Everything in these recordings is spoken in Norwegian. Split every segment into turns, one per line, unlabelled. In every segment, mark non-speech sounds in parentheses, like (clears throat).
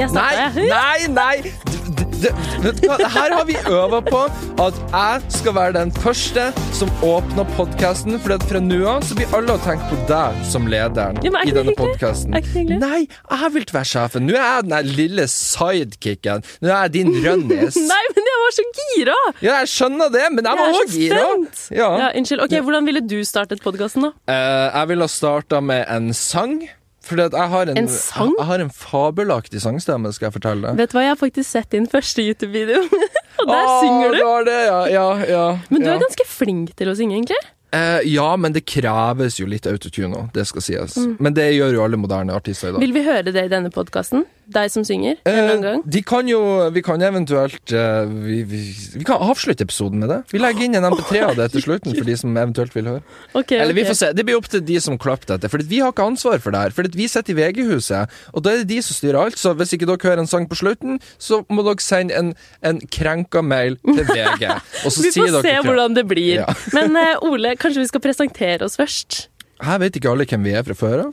Jeg
Nei,
stopper.
nei, nei! D- d- d- Vet du hva, her har vi øva på at jeg skal være den første som åpner podkasten. For at fra nå av så blir alle å tenke på deg som lederen
Ja, men er ikke
i
det
denne
hyggelig?
podkasten.
Er ikke det hyggelig?
Nei, jeg vil ikke være sjefen. Nå er jeg den der lille sidekicken. Nå er jeg
(laughs)
din rønnis.
Nei, men jeg var så gira!
Ja, jeg skjønner det, men jeg
Jeg
var
er så
òg gira.
spent!
Ja.
Ja, unnskyld. Ok, Hvordan ville du startet podkasten, da?
Eh, jeg ville ha starta med en sang. Fordi at jeg har en,
En sang?
Jeg har en fabelaktig sangstemme, skal jeg fortelle deg.
Vet du hva, jeg har faktisk sett din første YouTube-video, (laughs) og der
Å,
synger du.
var det, ja, ja, ja,
Men du
ja.
er ganske flink til å synge, egentlig.
Eh, ja, men det kreves jo litt autotune òg, det skal sies. Men det gjør jo alle moderne artister i dag.
Vil Mm. vi høre det i denne podkasten? Deg som synger? En eller annen
Eh,
gang?
de kan jo Vi kan eventuelt eh, vi, vi, vi kan avslutte episoden med det. Vi legger inn en MP3 av det til slutten for de som eventuelt vil høre.
Ok,
Eller vi
ok.
får se. Det blir opp til de som klapper dette. For vi har ikke ansvar for det her. For vi sitter i VG-huset, og da er det de som styrer alt. Så hvis ikke dere hører en sang på slutten, så må dere sende en, en krenka mail til VG. Og så
Vi
sier
får
dere
se
fra.
hvordan det blir.
Ja. (laughs)
Men eh, Ole, kanskje vi skal presentere oss først?
Her vet ikke alle hvem vi er fra før av.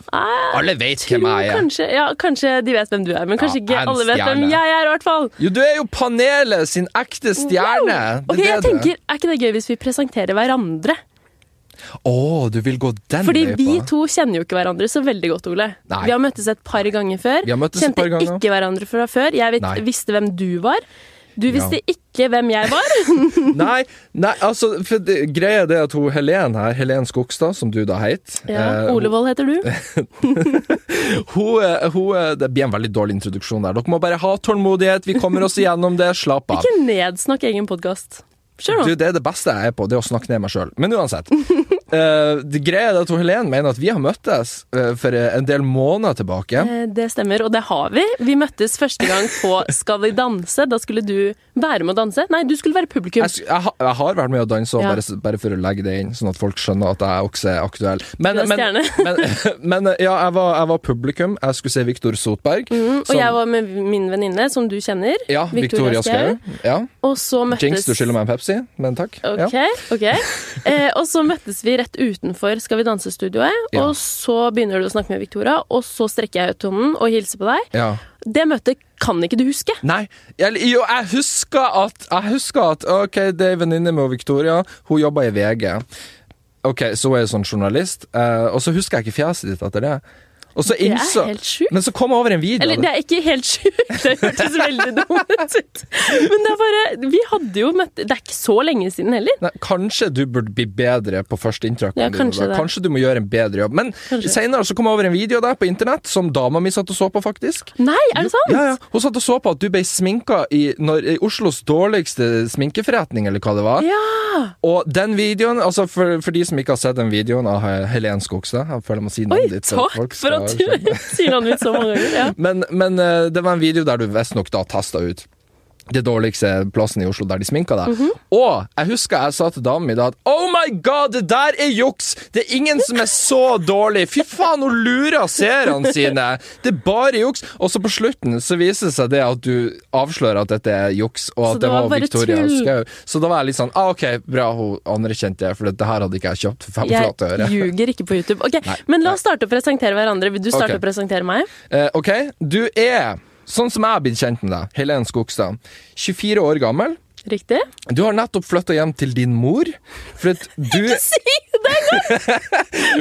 Alle vet hvem jeg er.
Ah, Kanskje, ja, kanskje de vet hvem du er, men kanskje
Ja,
ikke
en
alle vet hvem
stjerne.
jeg er, i hvert fall.
Jo, du er jo panelet sin ekte stjerne.
Wow. Ok,
Det er
jeg
det du er.
tenker, Er ikke det gøy hvis vi presenterer hverandre?
Å, du vil gå den
Fordi vi
løypa.
to kjenner jo ikke hverandre så veldig godt, Ole.
Nei.
Vi har møttes et par ganger før.
Vi har møttes et
Kjente
par ganger.
ikke hverandre fra før. Jeg vet,
Nei.
visste hvem du var. Du
Ja.
visste ikke hvem jeg
(laughs)
var.
Nei, nei, altså, for det, greia er det at hun Helen her, Helen Skogstad, som du da het
Ja,
eh, hun,
Olevold heter du.
hun, eh, hun, eh, Det blir en veldig dårlig introduksjon der. Dere må bare ha tålmodighet, vi kommer oss igjennom det. Slapp av.
Ikke nedsnakk egen podkast. Kjør
Du,
nå.
det er det beste jeg er på, det er å snakke ned meg sjøl. Men uansett. eh, det greia er det at hun Helen mener at vi har møttes eh, for eh, en del måneder tilbake.
Eh, Det stemmer, og det har vi. Vi møttes første gang på Skal vi danse. Da skulle du være med å danse. Nei, du skulle være publikum.
Jeg, s- jeg, ha- jeg har vært med å danse, og
Ja.
bare, s- bare for å legge det inn, sånn at folk skjønner at jeg også er aktuell. Men,
Du er
men, men, men (laughs) ja, jeg var, jeg var publikum. Jeg skulle se Viktor Sotberg.
Mhm, Og jeg var med min venninne, som du kjenner.
ja, Victoria Skau. Ja.
Og så
Jinx,
møttes
du skylder meg en Pepsi, men takk.
Ok,
Ja.
ok. Eh, og så møttes vi rett utenfor Skal vi danse-studioet.
Ja.
Og så begynner du å snakke med Victoria, og så strekker jeg ut hånden og hilser på deg.
Ja.
Det møtet kan ikke du huske.
Nei, jeg, jo, jeg husker at Jeg husker at Ok, det er en venninne med Victoria. Hun jobber i VG. Ok, Så hun er sånn journalist. eh, og så husker jeg ikke fjeset ditt etter det. Og så
er
innså
helt sjukt.
Men så kom jeg over en video. av
Eller
det.
det er ikke helt sjukt, det hørtes veldig dumt ut. Men det er bare Vi hadde jo møtt Det er ikke så lenge siden heller.
Nei, kanskje du burde bli bedre på førsteinntrykkene
Ja, kanskje
dine.
det.
Da. Kanskje du må gjøre en bedre jobb. Men
Kanskje.
senere så kom jeg over en video der på internett som dama mi satt og så på, faktisk.
Nei, er det sant?
Ja, ja. Hun satt og så på at du ble sminka i, når, i Oslos dårligste sminkeforretning, eller hva det var.
Ja.
Og den videoen, altså for, for de som ikke har sett den videoen av He- Helen Skogstad Jeg føler jeg må si
Oi,
navnet ditt. så folk
takk for at
skal
du
skjønne.
(laughs) sier navnet mitt så mange ganger.
(laughs)
Ja.
Men, men eh, det var en video der du visstnok da testa ut det dårligste plassen i Oslo der de sminka deg. Og jeg husker jeg sa til damen min da at Oh my god, det der er juks! Det er ingen som er så dårlig! Fy faen, hun lurer seerne sine! Det er bare juks! Og så på slutten så viser det seg det at du avslører at dette er juks, og at
det
det
var
var,
bare
Victoria
tull.
Skau. Så da var jeg litt sånn ah, OK, bra hun anerkjente det, for det her hadde ikke jeg kjøpt for fem flate øre.
Jeg ljuger ikke på YouTube. Ok, Men la oss starte å presentere hverandre. Vil du starte
Ok.
å presentere meg?
Eh, ok, du er, sånn som jeg har blitt kjent med deg, Helen Skogstad, 24 år gammel.
Riktig?
Du har nettopp flytta hjem til din mor. For
(laughs)
at du,
Si det engang!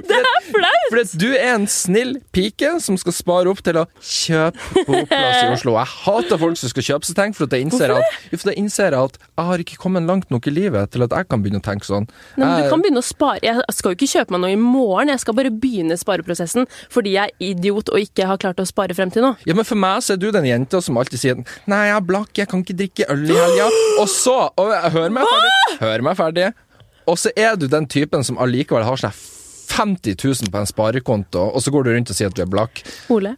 Det er (laughs) flaut!
for at du er en snill pike som skal spare opp til å kjøpe boplass i Oslo. Jeg hater folk som skal kjøpe seg ting, for at jeg innser at, jo, for jeg innser at jeg har ikke kommet langt nok i livet til at jeg kan begynne å tenke sånn.
Nei, men du
Jeg-
kan begynne å spare. Jeg skal jo ikke kjøpe meg noe i morgen, jeg skal bare begynne spareprosessen fordi jeg er idiot og ikke har klart å spare frem til nå.
Ja, men For meg så er du den jenta som alltid sier 'Nei, jeg er blakk, jeg kan ikke drikke øl i helga'. Og så og jeg- Hør meg ferdig. Hør meg ferdig. Og så er du den typen som allikevel har sånn seg 50 000 på en sparekonto, og så går du rundt og sier at du er blakk.
Ole.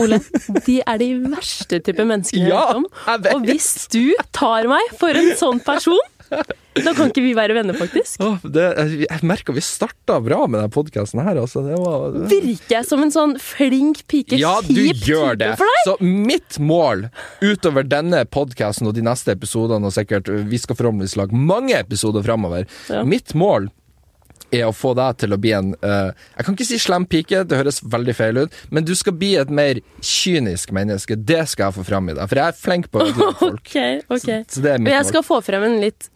Ole, de er de verste type menneskene jeg
Ja,
vet om.
jeg vet.
Og hvis du tar meg for en sånn person, da kan ikke vi være venner, faktisk.
Åh, det, jeg, jeg merker vi starta bra med den podkasten her, altså. Det var det-
Virker jeg som en sånn flink pike?
Ja, du
kjip
gjør
type
det.
For deg?
Så mitt mål utover denne podkasten og de neste episodene, og sikkert vi skal forhåpentligvis lage mange episoder framover,
Ja.
mitt mål er å få deg til å bli en eh, Jeg kan ikke si slem pike, det høres veldig feil ut, men du skal bli et mer kynisk menneske. Det skal jeg få fram i deg, for jeg er flink på å
(laughs)
ødelegge folk. Sånn
Ok, ok.
Så det er
Men
mitt
jeg
mål.
skal få frem en litt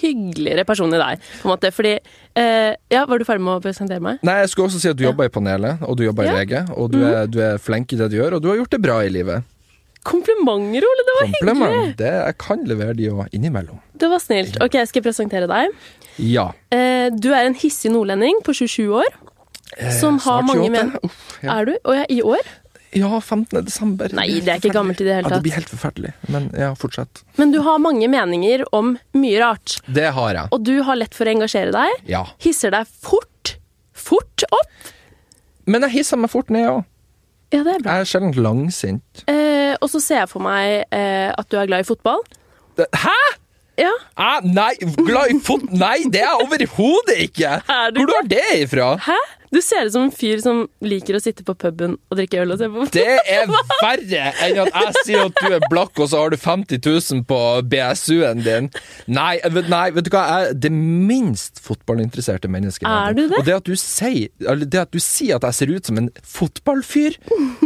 hyggeligere person i deg, på en måte. Fordi eh, Ja, var du ferdig med å presentere meg?
Nei, jeg skulle også si at du jobber i panelet, og du jobber
Ja. Mhm.
i VG, og du er, du er flink i det du gjør, og du har gjort det bra i livet.
Komplimenter, Ole! Det var hyggelig!
Kompliment. Det, jeg kan levere de òg, innimellom.
Det var snilt. Ok, jeg skal presentere deg.
Ja.
Eh, du er en hissig nordlending på 27 år. Som har
Eh, Snart
mange
28.
men...
Uff, ja.
Er du? Å ja, i år?
ja, 15. desember.
Nei, det er ikke gammelt i det hele
Ja, det
tatt.
blir helt forferdelig. Men ja, fortsett.
Men du har mange meninger om mye rart.
Det har jeg.
Og du har lett for å engasjere deg.
Ja.
Hisser deg fort. Fort opp.
Men jeg hisser meg fort ned òg.
Ja, det er bra.
Jeg er sjelden langsint.
Eh, og så ser jeg for meg eh, at du er glad i fotball.
Det- Hæ?!
Ja.
Jeg, nei, glad i fot... Nei, det er jeg overhodet ikke!
(laughs) Er du
Hvor du har det ifra?
Hæ? Du ser ut som en fyr som liker å sitte på puben og drikke øl og se på
Det er verre enn at jeg sier at du er blakk, og så har du 50 000 på BSU-en din. Nei, vet, nei, vet du hva? Jeg er det minst fotballinteresserte mennesket. i
Er du
verden.
det?
Og det at du, sier, eller det at du sier at jeg ser ut som en fotballfyr,
(laughs)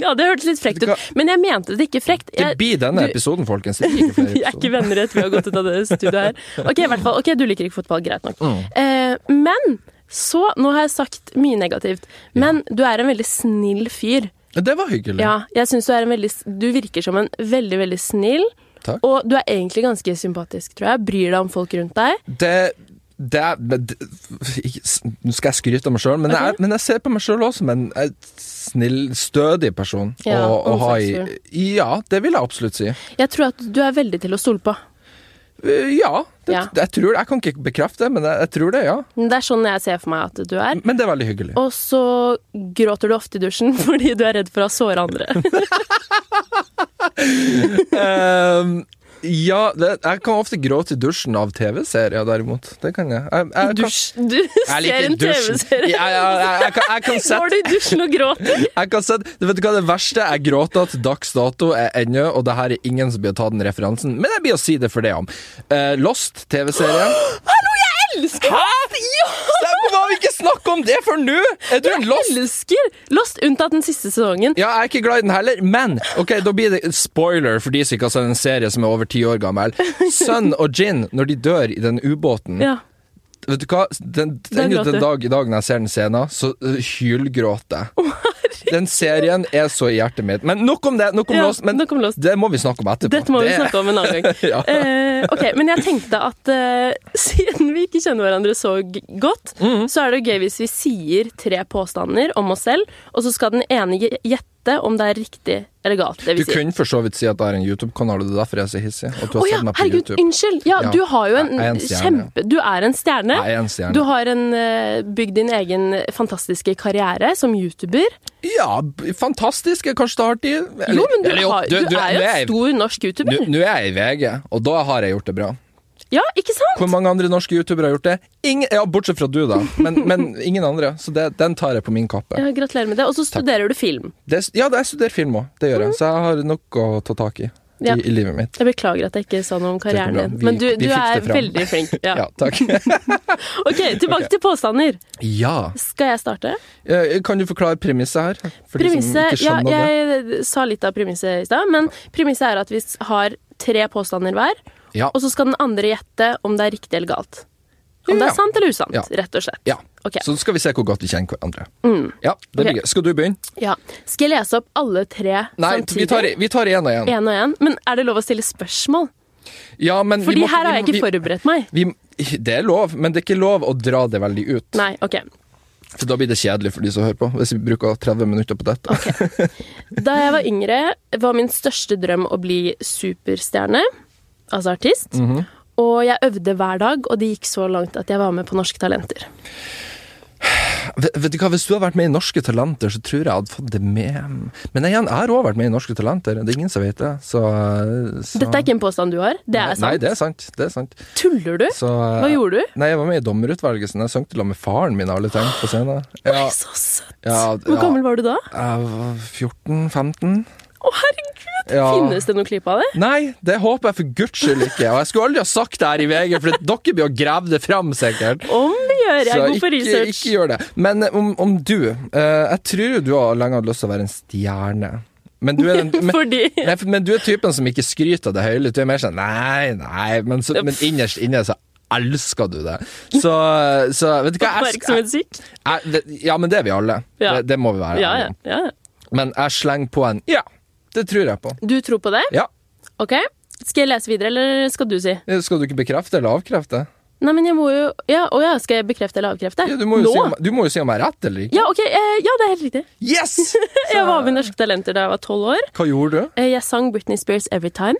Ja, det hørtes litt frekt ut. Men jeg mente det ikke frekt.
det
Jeg,
blir denne episoden, folkens.
(laughs)
Det blir ikke flere
vi er ikke
episoder.
venner etter vi har gått ut av det studioet her. Ok, i hvert fall. Ok, du liker ikke fotball, greit nok.
Mm.
Eh, men så Nå har jeg sagt mye negativt, men du er en veldig snill fyr.
Det var hyggelig.
Ja, jeg synes du er en veldig Du virker som en veldig, veldig snill.
Takk.
Og du er egentlig ganske sympatisk, tror jeg. Bryr deg om folk rundt deg.
det, det, er- men det ikke, s- Nå skal jeg skryte av meg sjøl, men, jeg- men jeg ser på meg sjøl også som en en snill, stødig person
Ja,
å, å ha i
omsorgsfull.
Ja, det vil jeg absolutt si.
Jeg tror at du er veldig til å stole på.
Eh, Ja. Det,
Ja.
Jeg, tror, jeg kan ikke bekrefte det, men jeg, jeg tror det, ja.
Det er sånn jeg ser for meg at du er.
Men det er veldig hyggelig.
Og så gråter du ofte i dusjen (laughs) fordi du er redd for å såre andre.
Ehm, ja, det, jeg kan ofte gråte i dusjen av TV-serier, derimot. Det kan jeg. jeg, jeg kan,
Dusj. (laughs) Du
jeg
ser
liker
en
dusjen.
TV-serie.
Ja, ja, jeg, jeg, kan, jeg
(laughs)
kan sette
Går du i dusjen og gråter?
Jeg kan sette, du vet du hva det verste jeg gråter til dags dato er ennå, og det her er ingen som blir å ta den referansen, men jeg blir å si det for det om. Eh, Lost, TV-serien.
Hallo, jeg elsker Hæ? Ja!
Hvorfor har vi ikke snakket om det før nå?! Er du en Lost?
Jeg elsker Lost, unntatt den siste sesongen.
Ja, jeg er ikke glad i den heller, men ok, da blir det spoiler for de som ikke har sett en serie som er over ti år gammel. Sun og Gin, når de dør i den ubåten
Ja.
Vet du hva? Den,
Da
den,
gråter
den
du.
dag i dag når jeg ser den scenen, så øh, hylgråter jeg. Den serien er så i hjertet mitt. Men nok om det. Nok om
Ja,
Lost. Men
nok om Lost.
det må vi snakke om etterpå.
Dette må vi
Det-
snakke om en annen gang.
(laughs) Ja.
Eh, ok, Men jeg tenkte at eh, (laughs) siden vi ikke kjenner hverandre så g godt,
Mhm.
så er det gøy hvis vi sier tre påstander om oss selv, og så skal den ene gj- gjette om det er riktig eller galt. det vi
Du
sier.
kunne for så vidt si at jeg har en YouTube-kanal, og det er derfor jeg er så hissig. At du har
Å ja,
sett meg på
herregud,
YouTube.
unnskyld! Ja,
Ja,
Du har jo en,
jeg er en stjerne.
kjempe Du er en stjerne.
Jeg er en stjerne.
Du har en, eh, bygd din egen fantastiske karriere som youtuber.
Ja, b- fantastisk. Jeg Kanskje det har tid. Eller-
Jo, men du,
eller
har, du, er jo
nå
en
jeg-
stor norsk youtuber.
nå- Nå er jeg i VG, og da har jeg gjort det bra.
ja, ikke sant?
Hvor mange andre norske youtubere har gjort det? Ingen, ja, Bortsett fra du, da. Men, men ingen andre. Så det, den tar jeg på min kappe.
Ja, gratulerer med det. Og så studerer du film.
Det, ja, jeg studerer film òg. Det gjør jeg. Så jeg har nok å ta tak i
Mm. Ja.
i, i livet mitt.
Jeg beklager at jeg ikke sa noe om
går
karrieren
bra.
din.
Vi-
Men du,
vi
du
fikk
er
det fram.
veldig
(laughs)
flink. Ja.
Ja, takk.
(laughs) Ok, tilbake til påstander.
ja.
Skal jeg starte?
Eh, Kan du forklare premisset her? For de som ikke
Premisset Ja,
skjønner det.
jeg sa litt av premisset i stad, men premisset er at vi har tre påstander hver,
Ja.
og så skal den andre gjette om det er riktig eller galt. Om det
Ja.
er sant eller usant,
Ja.
rett og slett.
ja.
Ok. Mm.
Så skal vi se hvor godt vi kjenner hverandre. Ja, det blir
Ok.
gøy. Skal du begynne?
Ja. Skal jeg lese opp alle tre
Nei,
samtidig?
vi tar, vi tar en og en.
En og en. Men er det lov å stille spørsmål?
Ja, men vi
Fordi
må-
her har jeg
vi
ikke
må-
forberedt meg.
vi, vi, Det er lov, men det er ikke lov å dra det veldig ut.
Nei, ok.
For da blir det kjedelig for de som hører på, hvis vi bruker 30 minutter på dette.
Da jeg var yngre, var min største drøm å bli superstjerne, altså artist.
Mhm.
Og jeg øvde hver dag, og det gikk så langt at jeg var med på Norske Talenter.
Vet, vet du hva, Hvis du hadde vært med i Norske Talenter, så tror jeg jeg hadde fått det med. Men igjen, jeg har også vært med i Norske Talenter, det er ingen som vet det. Så, så
Dette er ikke en påstand du har. Det er sant.
Nei, det er sant. Det er sant.
Tuller du?
Så,
Hva gjorde du?
Nei, Jeg var med i Dommerutvalget, så jeg sang til sammen med faren min alle ting på scenen. Ja,
Oi, så søtt.
ja,
Hvor gammel var du da?
Jeg var 14-15.
Å, herregud!
Ja.
Finnes det noe klipp av det?
Nei, det håper jeg for guds skyld ikke. Og jeg skulle aldri ha sagt det her i VG, for dere blir å grave det fram, sikkert.
Om vi gjøre. Jeg er god
ikke,
på research.
ikke gjør det. Men eh, om, om du eh, Jeg tror jo du har lenge hatt lyst til å være en stjerne. Men du
(laughs)
er, den, (laughs) men,
Fordi
nei, for- men du er typen som ikke skryter av det høylytt. Du er mer sånn nei, nei, men, så, men innerst inne så elsker du det. Så, så vet du hva jeg, jeg,
Oppmerksomhetssyk.
jeg, Ja, men det er vi alle.
Ja.
Det, det må vi være.
Ja,
ærlige
ja,
om.
ja.
Men jeg slenger på en ja. Det tror jeg på.
Du tror på det?
Ja.
OK. Skal jeg lese videre, eller skal du si?
Skal du ikke bekrefte eller avkrefte?
Nei, men jeg må jo Ja, å ja, skal jeg bekrefte eller avkrefte?
Ja, du, må jo
Nå?
si om, du må jo si om jeg er rett eller ikke.
Ja, ok. Eh, ja, det er helt riktig. (laughs)
Yes!
Jeg var med i Norske Talenter da jeg var tolv år.
Hva gjorde du?
Eh, Jeg sang Britney Spears Every Time.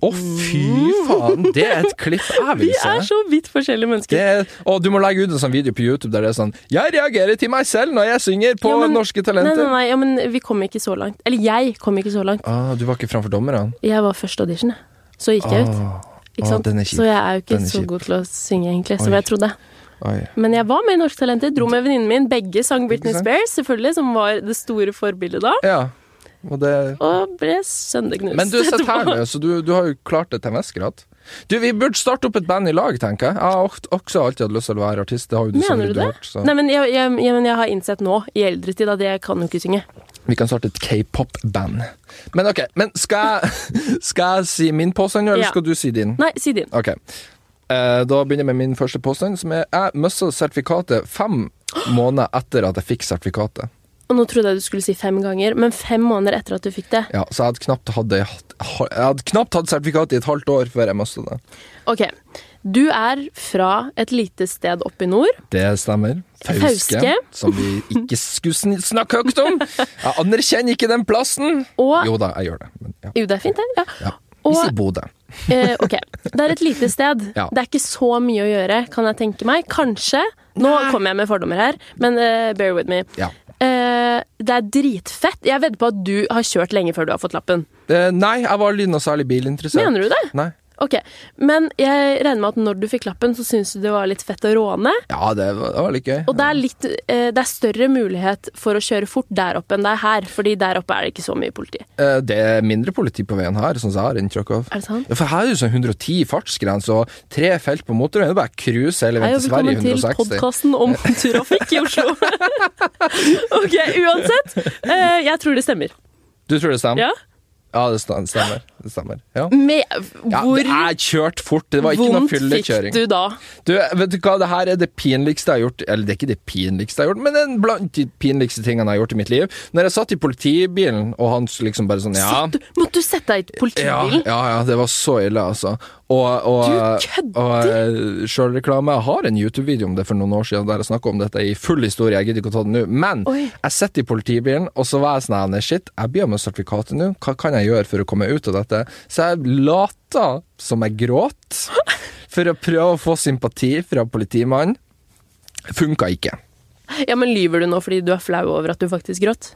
Å, fy faen! Det er et klipp jeg
(laughs) Vi
vil
er
se.
så vidt forskjellige mennesker.
Det er, og du må legge ut en sånn video på YouTube der det er sånn 'Jeg reagerer til meg selv når jeg synger på
Ja, men-
Norske
Nei,
Talenter'.
nei, nei, ja, men vi kom ikke så langt. Eller jeg kom ikke så langt.
Ah, du var ikke framfor dommerne?
Jeg var første audition, jeg. Så gikk jeg ut.
Ah,
Ikke
ah,
sant?
den er kjip.
så jeg er jo ikke
Den er
så
kjip.
god til å synge, egentlig, som
Oi.
jeg trodde.
oi.
Men jeg var med i Norske Talenter, dro med venninnen min. Begge sang Britney
Ikke sant?
Spears, selvfølgelig, som var det store forbildet da.
Ja. Og det
Og ble sønderknust.
Men du
(laughs)
sitter her
etterpå.
nå, så du, du har jo klart det til en viss grad. Du, vi burde starte opp et band i lag, tenker jeg. Jeg har okt- også alltid hatt lyst til å være artist. Det har jo du
Mener du
selvfølgelig
det?
hørt. Så.
Nei, men jeg, jeg, jeg, men jeg har innsett nå, i eldre tid, at jeg kan jo ikke synge.
Vi kan starte et k-pop-band. Men ok, men skal jeg, (laughs) skal jeg si min påstand, eller
Ja.
skal du si din?
Nei, si din.
Ok. Eh, Da begynner jeg med min første påstand, som er jeg mista sertifikatet fem måneder etter at jeg fikk sertifikatet.
Og nå trodde jeg du skulle si fem ganger, men fem måneder etter at du fikk det.
Ja, så jeg hadde knapt hatt, det- jeg hadde knapt hatt sertifikatet i et halvt år før jeg mista det.
Ok, du er fra et lite sted oppe i nord.
Det stemmer. Fauske,
Fauske.
som vi ikke skulle sn- snakke høyt om. Jeg anerkjenner ikke den plassen.
Og
Jo da, jeg gjør det. Men ja.
Jo, det er fint, det. Ja.
ja. Vi
Og
sier Bodø.
(laughs) eh, ok, det er et lite sted.
Ja.
Det er ikke så mye å gjøre, kan jeg tenke meg. Kanskje. Nå kommer jeg med fordommer her, men eh, bear with me.
Ja.
Eh, det er dritfett. Jeg vedder på at du har kjørt lenge før du har fått lappen.
Eh, nei, jeg var aldri noe særlig bilinteressert.
Mener du det?
Nei.
Ok, Men jeg regner med at når du fikk lappen, så syntes du det var litt fett å råne.
Ja, det var, det var litt gøy.
Og det er, litt, eh, det er større mulighet for å kjøre fort der oppe enn det er her. Fordi der oppe er det ikke så mye politi.
Eh, det er mindre politi på veien her, sånn som jeg har inntrykk av.
Er det sant?
Ja, for her er det jo sånn 110 fartsgrense og tre felt på motorveien. Det er bare cruise hele
Hei
veien
og
til Sverige
velkommen
i
til
160.
podkasten (laughs) om trafikk i
(laughs)
Oslo. ok, uansett. eh, jeg tror det stemmer.
Du tror det stemmer?
Ja?
Ja, det sta- stemmer. Det stemmer. Ja.
Med
Ja,
hvor
jeg kjørte fort. Det var ikke noe
vondt fikk
fyllekjøring.
du da?
Du, vet du hva, det her er det pinligste jeg har gjort Eller det er ikke det pinligste jeg har gjort Men det er blant de pinligste tingene jeg har gjort i mitt liv Når jeg satt i politibilen Og han liksom bare sånn, ja
Satt du, måtte du sette deg i
ja,
politibilen?
ja, ja, det var så ille altså Og, og,
Du kødder!
og eh, selvreklame Jeg har en YouTube-video om det for noen år siden Der jeg snakket om dette i full historie Jeg gidder ikke å ta den nå Men
Oi.
jeg sitter i politibilen Og så var jeg sånn, nei, shit, jeg blir med sertifikatet nå Hva kan jeg gjøre for å komme ut av dette? Så jeg lata som jeg gråt For å prøve å få sympati fra politimannen Funket ikke
Ja. Men lyver du nå fordi du er flau over at du faktisk gråt?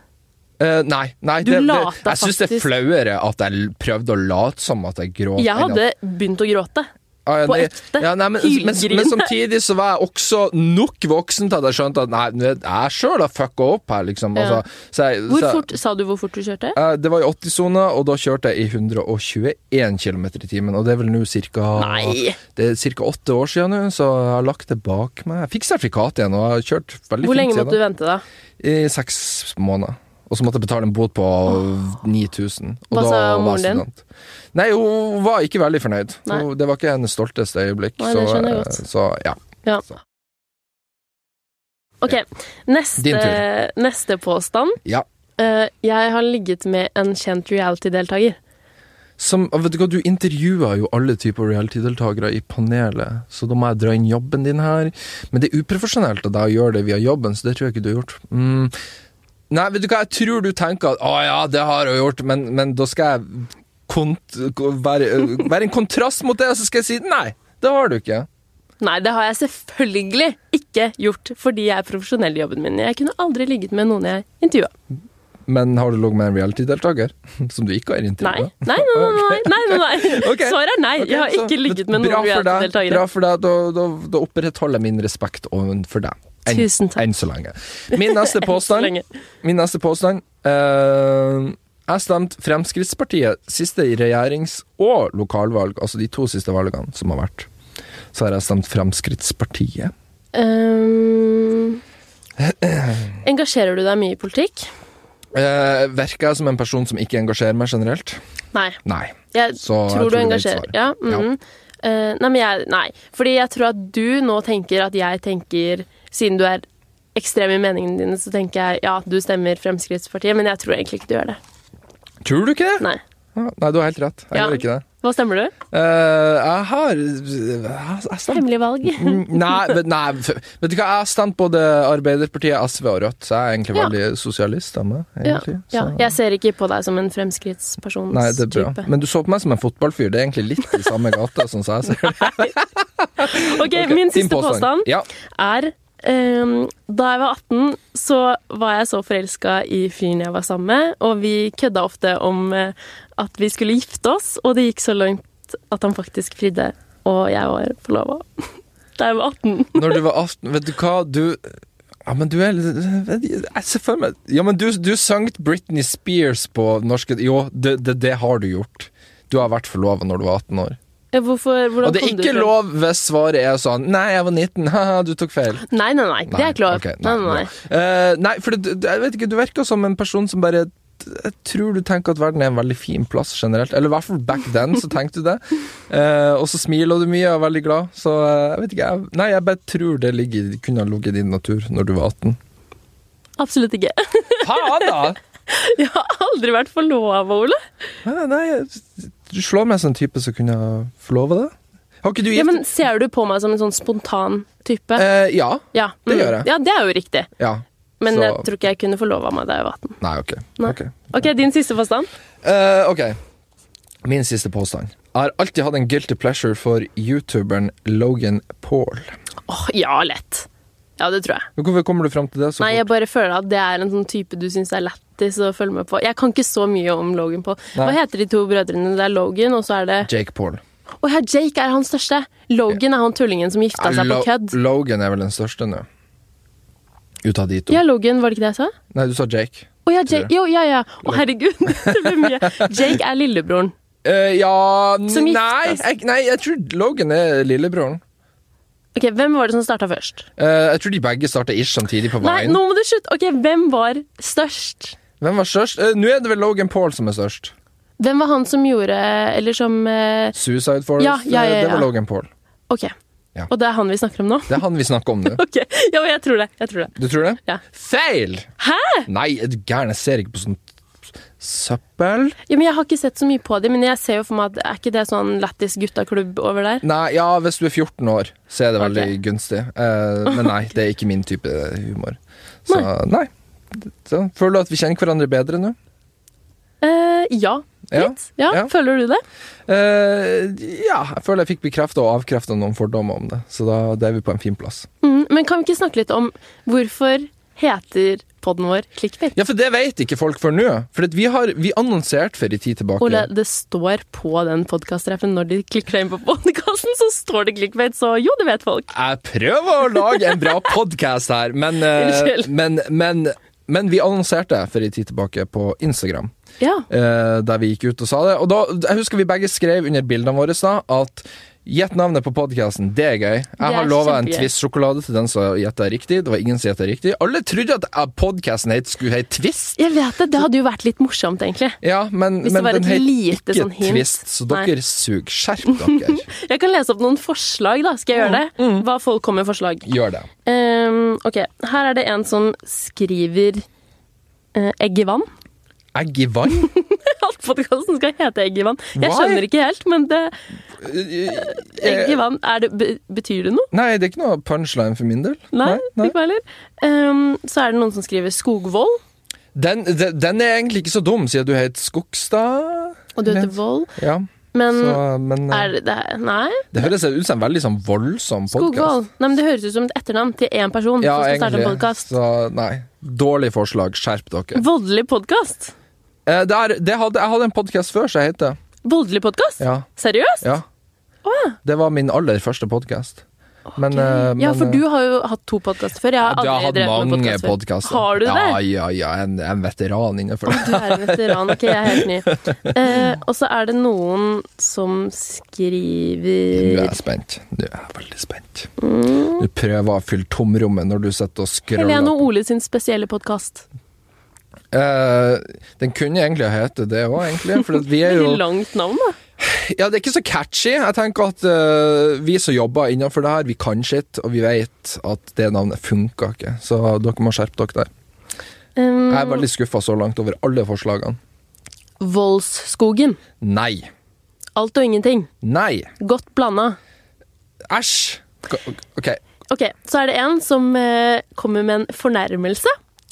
Eh, nei, nei
Du
det, det,
lata
Jeg synes det er
faktisk-
flauere at jeg l- prøvde å late som at jeg gråt
Jeg
enn at-
hadde begynt å gråte.
Ah, Ja, ja,
På
nei,
ekte.
Ja, nei, men, men,
Hylgrine.
men samtidig så var jeg også nok voksen til at jeg skjønte at nei, nå er- jeg sjøl har fucka opp her, liksom.
Ja.
Altså, så jeg,
Hvor
så, jeg-
fort, Sa du hvor fort du kjørte?
eh, det var i 80-sona, og da kjørte jeg i 121 km i timen. Og det er vel nå
Nei.
ca. Det er cirka åtte år siden nå, så jeg har lagt det bak meg. Jeg fikk sertifikat igjen, og jeg har kjørt veldig
Hvor
fint
lenge
siden.
måtte du vente, da?
I seks måneder. Og så måtte jeg betale en bot på 9000. Og
Hva
da
sa
var
moren din?
jeg student. Nei, hun var ikke veldig fornøyd.
Nei.
Hun, det var ikke hennes stolteste øyeblikk.
Nei, det
så,
skjønner jeg
eh,
godt.
så ja.
Ja.
Så.
Ok,
Din
neste, neste påstand.
Ja.
Eh, jeg har ligget med en kjent reality-deltaker.
Som, vet du hva, du intervjuer jo alle typer reality-deltakere i panelet, så da må jeg dra inn jobben din her. Men det er uprofesjonelt av deg å gjøre det via jobben, så det tror jeg ikke du har gjort. Mm. Nei, vet du hva, jeg tror du tenker at å ja, det har jeg gjort, men, men da skal jeg kont være, øh, være en kontrast mot det, og så skal jeg si nei, det har du ikke.
Nei, det har jeg selvfølgelig ikke gjort, fordi jeg er profesjonell i jobben min. Jeg kunne aldri ligget med noen jeg intervjua.
Men har du ligget med en reality-deltaker (laughs) som du ikke har
Nei.
intervjua?
Nei, nei, nei. nei, nei, nei, nei.
(laughs) Ok.
Svaret er nei. Jeg har
Ok, så
ikke ligget med noen
bra for deg, Bra
reality-deltakere.
for deg, da, da, da opprettholder jeg min respekt overfor deg. Enn-
Tusen takk.
Enn så lenge. Min neste
Så
påstand,
lenge.
min neste påstand eh, Jeg stemte Fremskrittspartiet siste i regjerings- og lokalvalg, altså de to siste valgene som har vært. Så har jeg stemt Fremskrittspartiet. (clears throat)
Ehm, engasjerer du deg mye i politikk?
Eh, verker jeg som en person som ikke engasjerer meg generelt?
Nei.
Nei.
Jeg
Så
tror
jeg
du
tror du vet
engasjerer
svaret.
ja, mhm. Eh, Nei, men jeg Nei. Fordi jeg tror at du nå tenker at jeg tenker Siden du er ekstrem i meningene dine, så tenker jeg ja, du stemmer Fremskrittspartiet, men jeg tror egentlig ikke du gjør det.
Tror du ikke det?
Nei.
Ja, Nei, du har helt rett. Jeg
Ja.
gjør ikke det.
Hva stemmer du?
Eh, jeg har jeg, jeg stemte
Hemmelig valg.
Mm, Nei, men- nei, f- vet du hva, jeg har stemt både Arbeiderpartiet, SV og Rødt, så jeg er egentlig
Ja.
veldig sosialist av meg,
Ja,
egentlig.
ja.
Så-
Jeg ser ikke på deg som en fremskrittspersons
Nei, det er bra.
type.
Men du så på meg som en fotballfyr, det er egentlig litt i samme gata, sånn
(laughs)
som jeg ser det.
Ok,
Ok,
Min
din
siste påstand
Ja.
er ehm, Da jeg var 18, så var jeg så forelska i fyren jeg var sammen med, og vi kødda ofte om eh, at vi skulle gifte oss, og det gikk så langt at han faktisk fridde, og jeg var forlova. (laughs) Da jeg var 18.
Når du var 18, vet du hva, du ja, men du er litt- Jeg ser for meg Ja, men du, du sang Britney Spears på norske Jo, det, det, det har du gjort. Du har vært forlova når du var 18 år.
Eh, Hvorfor, hvordan
Og det er
kom du
ikke
frem?
lov hvis svaret er sånn Nei, jeg var 19, (laughs) haha, du tok feil.
Nei, nei, nei. Det er klart.
ok,
nei, nei,
bra.
nei.
Eh, nei, for det, det- jeg vet ikke, du virker som en person som bare jeg tror du tenker at verden er en veldig fin plass generelt. Eller i hvert fall back then, så tenkte du det. Eh, og så smiler du mye og er veldig glad. Så eh, jeg vet ikke. Jeg, nei, jeg bare tror det ligger, kunne ha ligget i din natur når du var 18.
Absolutt ikke. (laughs)
Faen, da!
Jeg har aldri vært forlova, Ole.
Ja, Nei, jeg- du slår meg som en type som kunne ha forlova deg. Har ikke du gift
Ja, men Ser du på meg som en sånn spontan type?
Eh, ja.
Ja,
Det
mm.
gjør jeg.
Ja, det er jo riktig.
Ja.
Men
Så-
jeg tror ikke jeg kunne forlova meg da jeg var 18.
Nei, ok.
Nei.
Ok.
Ok, din siste påstand.
Eh, ok. Min siste påstand. Jeg har alltid hatt en guilty pleasure for youtuberen Logan Paul.
Åh, ja, lett. Ja, det tror jeg.
Men Hvorfor kommer du fram til det? Så
Nei,
fort?
jeg bare føler at det er en sånn type du syns er lættis å følge med på. Jeg kan ikke så mye om Logan Paul. Hva
Nei.
heter de to brødrene? Det er Logan, og så er det
Jake Paul.
Å ja, Jake er han største. Logan er han tullingen som gifta seg på
Lo-
kødd.
Logan er vel den største nå. Ut av de to.
Ja, Logan, var det ikke det jeg sa?
Nei, du sa Jake.
Å ja, Jake. Jo, ja, ja. Å herregud, (laughs) det ble mye. Jake er lillebroren.
Eh, ja n-
Som gifta
nei,
seg.
jeg, nei, jeg tror Logan er lillebroren.
Ok, Hvem var det som starta først?
Eh, jeg tror de begge starta ish samtidig på
Nei,
veien.
nå må du slutte! Ok, Hvem var størst?
Hvem var størst? Eh, nå er det vel Logan Paul som er størst.
Hvem var han som gjorde Eller som eh,
Suicide Forest.
Ja, ja, ja,
eh, Det var
ja.
Logan Paul.
Ok.
Ja.
Og det er han vi snakker om nå? (laughs)
Det er han vi snakker om nå.
Ok, ja, men jeg tror det. Jeg tror det.
Du tror det?
Ja.
Feil! Hæ? Nei, er du gæren? Jeg ser ikke på sånt søppel.
Ja, men jeg har ikke sett så mye på dem, men jeg ser jo for meg at er ikke det sånn lættis guttaklubb over der?
Nei, ja, hvis du er 14 år, så er det veldig
Ok.
gunstig. Eh, men nei, det er ikke min type humor. Så nei. Så, føler du at vi kjenner hverandre bedre nå?
Eh, ja.
Ja,
Litt. Ja,
ja.
Føler du det?
Eh, ja, jeg føler jeg fikk bekrefta og avkrefta noen fordommer om det, så da, da er vi på en fin plass.
Mm, men kan vi ikke snakke litt om hvorfor heter podden vår Clickbait?
Ja, for det vet ikke folk før nå. For at vi, har, vi annonserte for en tid tilbake.
Ole, det står på den podkast-treffen når de klikker seg inn på podkasten, så står det clickbait, så jo, det vet folk.
Jeg prøver å lage en bra podkast her, men, eh,
Unnskyld.
men, men, men vi annonserte for en tid tilbake på Instagram,
Ja.
eh, der vi gikk ut og sa det. Og da, jeg husker vi begge skrev under bildene våre da, at Gjett navnet på podkasten, det er gøy. Jeg har
er
lova en
kjempegøy.
Twist-sjokolade til den som gjetta riktig. Det var ingen som gjetta riktig. Alle trodde at podkasten skulle hete Twist,
Jeg vet det. Det hadde jo vært litt morsomt, egentlig.
ja, men,
Hvis det
men
var
den
et lite
het ikke
sånn hint.
Twist, så
Nei.
dere suger. Skjerp dere.
(laughs) Jeg kan lese opp noen forslag, da. Skal jeg gjøre det?
Mm.
Hva folk kommer med forslag.
Gjør det.
Ehm, ok, her er det en som skriver eh, egg i vann.
Egg i vann?
Alt podkasten skal hete egg i vann. Jeg
Why?
skjønner ikke helt, men det, egg
Eh,
i vann, er det, be- betyr det noe?
Nei, det er ikke noe punchline for min del.
Nei, ikke
nei.
meg heller. Ehm, så er det noen som skriver skogvoll,
Den, den, den er egentlig ikke så dum, siden du heter Skogstad.
og du heter
Litt.
voll.
Ja,
Men
så, men eh,
Mm. er det, det er- Nei,
det høres ut som en veldig sånn voldsom
skogvoll.
podkast.
Nei, men det høres ut som et etternavn til én person
Ja,
som skal starte en
egentlig.
podkast.
Så nei. Dårlig forslag. Skjerp dere.
Voldelig podkast?
Eh, det er, det hadde, jeg hadde en podkast før som het det.
Voldelig podkast?
Ja,
Seriøst?
ja. Det var min aller første podkast. Men, eh,
Ja,
men,
for
eh,
du har jo hatt to podkaster før. Jeg har
jeg har
aldri drevet
hatt
med
mange
podkast før.
podkaster.
Har du det?
Ja, ja, ja. Jeg er en- jeg er en veteran innenfor det.
Du er en veteran. Ok, jeg er helt ny. Eh, og så er det noen som
Nå er
skriver
jeg spent. Nå er jeg veldig spent. Du prøver å fylle tomrommet når du sitter og
Mm. Helene
scroller.
og Ole sin spesielle podkast.
Eh, den kunne egentlig hete det òg, egentlig. For at vi er
(laughs)
jo
Veldig langt navn, da.
Ja, det er ikke så catchy. Jeg tenker at eh, vi som jobber innenfor det her, vi kan shit, og vi vet at det navnet funka ikke. Så dere må skjerpe dere der.
Um,
Jeg er veldig skuffa så langt over alle forslagene.
Voldsskogen.
Nei.
Alt og ingenting.
Nei.
Godt blanda.
Æsj. K- OK.
Ok, så er det en som eh, kommer med en fornærmelse.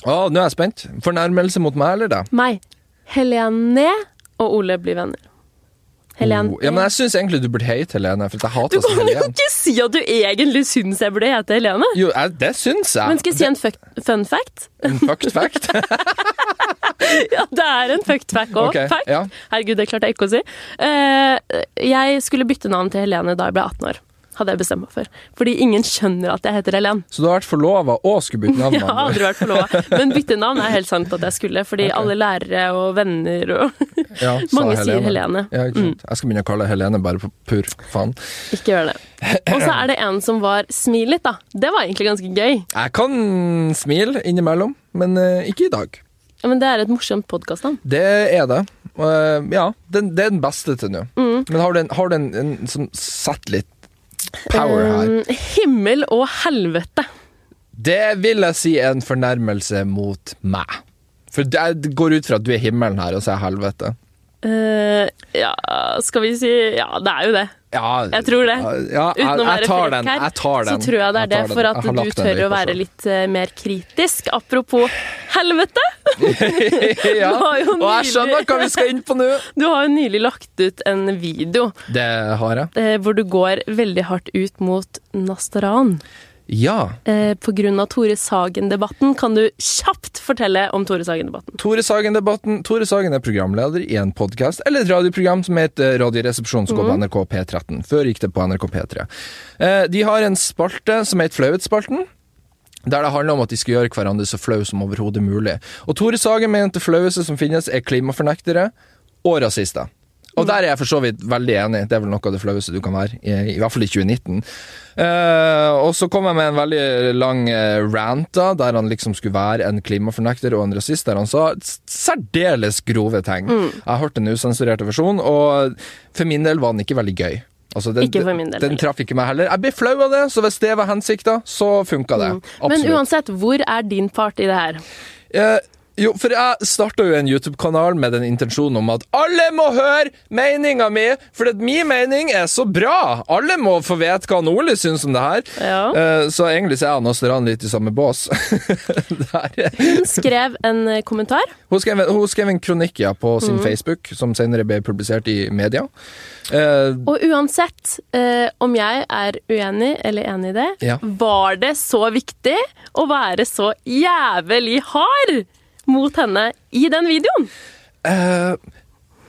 Å, nå er jeg spent. Fornærmelse mot meg eller deg?
Meg. Helene og Ole blir venner. Helene.
Oh, ja, men jeg syns egentlig du burde hete Helene, for jeg
du
hater sånn
kan jo
Helene.
ikke si at du egentlig syns jeg burde hete Helene.
Jo, jeg, det syns jeg.
Men skal jeg si en fuck- fun fact?
En fucked fact.
(laughs) Ja, det er en fucked fact òg.
Ok, ja.
Herregud, det klarte jeg ikke å si. Eh, jeg skulle bytte navn til Helene da jeg ble 18 år. Hadde jeg bestemt meg for. Fordi ingen skjønner at jeg heter Helen.
Så du har vært forlova og skulle bytte navn?
(laughs) Jeg har
med andre.
aldri vært forlova. Men bytte navn er helt sant at jeg skulle, fordi alle lærere og venner og
Ja, sa
(laughs) Mange sier Helene.
Ja, ikke
Mm.
sant. Jeg skal begynne å kalle deg Helene bare på pur faen.
Ikke gjør det. Og så er det en som var smil litt, da. Det var egentlig ganske gøy.
Jeg kan smile innimellom, men eh, ikke i dag.
Ja, Men det er et morsomt podkastnavn.
Det er det. Og, eh, ja, den, det er den beste til nå.
Mm.
Men har du en, har du en, en som setter litt power her?
Um, himmel og helvete.
Det vil jeg si er en fornærmelse mot meg. For det det går ut fra at du er himmelen her, og så er jeg helvete.
Eh, ja, skal vi si Ja, det er jo det.
Ja,
Jeg tror det.
Ja, jeg,
Uten å være
jeg tar
frekk
den.
her,
Jeg tar
Så
den.
tror jeg det er det,
tar den.
for at
Jeg har
du
lagt den
tør
litt
å
på
være
seg.
litt eh, mer kritisk. Apropos helvete!
(laughs) ja.
Du har jo
Og jeg skjønner
nylig-
hva vi skal inn på nå.
Du har jo nylig lagt ut en video
Det har jeg.
eh, hvor du går veldig hardt ut mot Nastaran.
Ja.
Eh, på grunn av Tore Sagen-debatten. Kan du kjapt fortelle om Tore Sagen-debatten?
Tore Sagen-debatten. Tore Sagen er programleder i en podkast eller et radioprogram som heter Radioresepsjonen, som går på NRK P13. Før gikk det på NRK P3. Eh, De har en spalte som heter Flauhetsspalten. Der det handler om at de skal gjøre hverandre så flau som overhodet mulig. Og Tore Sagen mente det flaueste som finnes, er klimafornektere og rasister. Og der er jeg for så vidt veldig enig. Det er vel noe av det flaueste du kan være. I, i hvert fall i 2019. Eh, og så kom jeg med en veldig lang eh, rant, da, der han liksom skulle være en klimafornekter og en rasist, der han sa s- særdeles grove ting.
Mm.
Jeg har hørt den usensurerte versjonen, og for min del var den ikke veldig gøy. Altså, den,
Ikke for min del
Den
heller.
traff ikke meg heller. Jeg ble flau av det, så hvis det var hensikta, så funka det.
Mm. Men
Absolutt.
uansett, hvor er din part i det her?
Eh, jo, for jeg starta jo en YouTube-kanal med den intensjonen om at alle må høre meninga mi, for at min mening er så bra! Alle må få vite hva han Ole syns om det her.
Ja.
Eh, så egentlig så er han og Steran litt i samme bås. (laughs) Der.
Hun skrev en eh, kommentar.
Hun, skrev, en- hun skrev en kronikk ja, på sin
Mm.
Facebook, som senere ble publisert i media. Eh,
Og uansett eh, om jeg er uenig eller enig i det,
Ja.
var det så viktig å være så jævlig hard mot henne i den videoen?
Eh,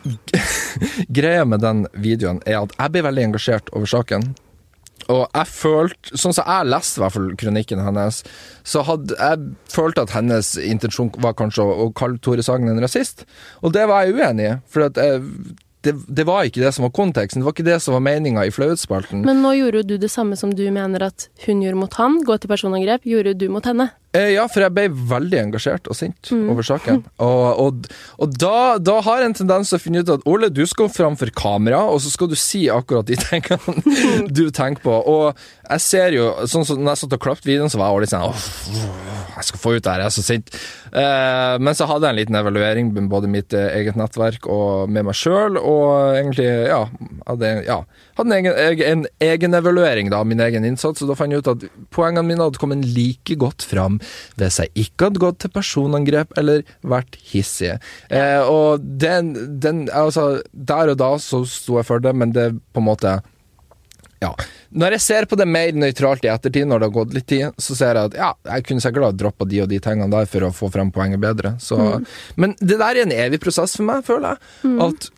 (laughs) Greia med den videoen er at jeg ble veldig engasjert over saken. Og jeg følte, sånn som jeg leste i hvert fall kronikken hennes, så hadde jeg følt at hennes intensjon var kanskje å, å kalle Tore Sagen en rasist. Og det var jeg uenig i, for at eh, det, det var ikke det som var konteksten. Det var ikke det som var meninga i flauhetsspalten.
Men nå gjorde jo du det samme som du mener at hun gjorde mot han. Gå til personangrep, gjorde du mot henne.
Eh, ja, for jeg ble veldig engasjert og sint over saken. (laughs) Og, og, og da, da har jeg en tendens til å finne ut at Ole, du skal framfor kamera, og så skal du si akkurat de (laughs) tingene du tenker på. Og jeg ser jo, sånn som når jeg satt og klappte videoen, så var jeg jo litt sånn «Åh, jeg skal få ut det her, jeg er så sint. Eh, men så hadde jeg en liten evaluering med både mitt eh, eget nettverk og med meg sjøl, og egentlig, ja Hadde, ja, hadde en, egen, eg- en egen evaluering da, av min egen innsats, og da fant jeg ut at poengene mine hadde kommet like godt fram hvis jeg ikke hadde gått til personangrep eller vært hissig. Eh, og den, den Altså, der og da så sto jeg for det, men det på en måte ja. Når jeg ser på det mer nøytralt i ettertid, når det har gått litt tid, så ser jeg at ja, jeg kunne sikkert ha droppa de og de tingene
Mm.
der for å få frem poenget bedre. Så, Men det der er en evig prosess for meg, føler jeg. At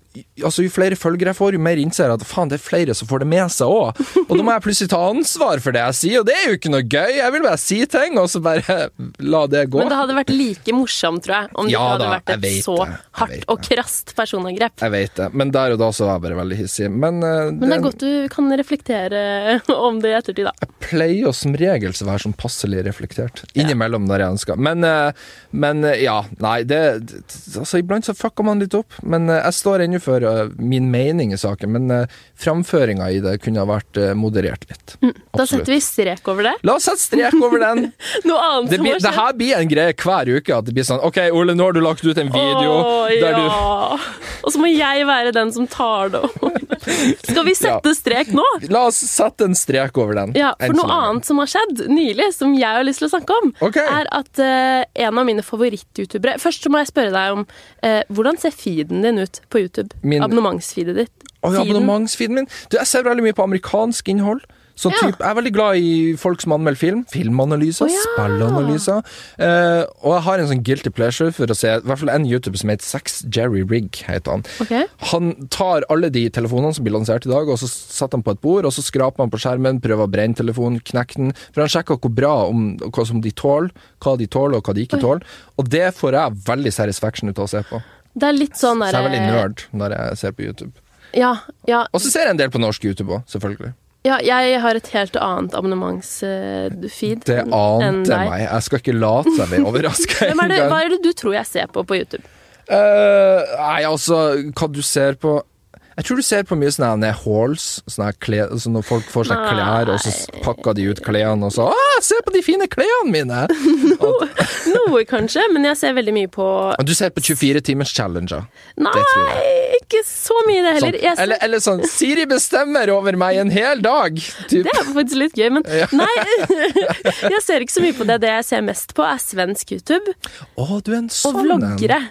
altså, jo flere følgere jeg får, jo mer innser jeg at faen, det er flere som får det med seg òg. Og da må jeg plutselig ta ansvar for det jeg sier, og det er jo ikke noe gøy. Jeg vil bare si ting, og så bare la det gå.
Men det hadde vært like morsomt, tror jeg, om det
Ja
ikke hadde
da, jeg
vært
vet
et så
det, jeg vet
hardt og krast personangrep.
Jeg vet det, men der og da så var jeg bare veldig hissig. Men, eh,
Men det
det-
er godt du kan reflektere (laughs) om det i ettertid, da.
pleier jo som regel å være sånn passelig reflektert. Innimellom når jeg ønsker. Men, eh, men eh, ja, nei, det det- Altså, iblant så fucker man litt opp. Men eh, jeg står ennå for eh, min mening i saken. Men framføringa i det kunne ha vært eh, moderert litt.
Da setter vi strek over det.
La oss sette strek over
(laughs)
den!
Noe annet
Det, blir,
som har
det
skjedd.
her blir en greie hver uke. At det blir sånn OK, Ole, nå har du lagt ut en video
Åh,
der du
ja. Og så må jeg være den som tar det over. Skal vi sette strek nå?
La oss sette en strek over den.
Ja,
enn
for
så
noe
lenge.
annet som har skjedd nylig, som jeg har lyst til å snakke om,
Ok.
er at eh, en av mine favoritt-youtubere Først så må jeg spørre deg om eh, hvordan ser feeden din ut på YouTube?
Min-
Abonnementsfeedet ditt?
Å, ja,
Feeden.
abonnementsfeeden min. Du, jeg ser veldig mye på amerikansk innhold. Så
Ja.
typ, jeg er veldig glad i folk som anmelder film. Filmanalyser,
Å, ja.
spillanalyser. Eh, og jeg har en sånn guilty pleasure for å se i hvert fall en YouTuber som heter Sex Jerry Rigg. heter Han
Ok.
Han tar alle de telefonene som blir lansert i dag, og så setter han på et bord, og så skraper han på skjermen, prøver å brenne telefonen, knekke den. For han sjekker hvor bra om, hva som de tåler, hva de tåler, og hva de ikke tåler. Og det får jeg veldig satisfaction ut av å se på.
Det er litt sånn
Så jeg er veldig
derre
nerd når jeg ser på YouTube.
ja, ja,
Og så ser jeg en del på norsk YouTube òg, selvfølgelig.
ja, jeg har et helt annet eh, abonnementsfeed
Det ante meg. Jeg skal ikke late som jeg
(laughs)
blir overraska
Mm. Hvem er
(laughs)
det, hva
engang.
er det du tror jeg ser på på YouTube?
Eh, Nei, altså, hva du ser på Jeg tror du ser på mye sånne her halls, sånne her kle, altså når folk får seg
Nei.
klær, og så s- pakker de ut klærne, og så Å, se på de fine klærne mine!
Noe, kanskje, men jeg ser veldig mye på
Og du ser på 24 timers challenger.
Nei,
tror
ikke så mye det
Sånn.
heller. Jeg ser
Eller, eller sånn Siri bestemmer over meg en hel dag! Typ.
Det er faktisk litt gøy, men nei. (laughs) Jeg ser ikke så mye på det. Det jeg ser mest på, er svensk YouTube
Å, du er en
og
sånn en.
vloggere.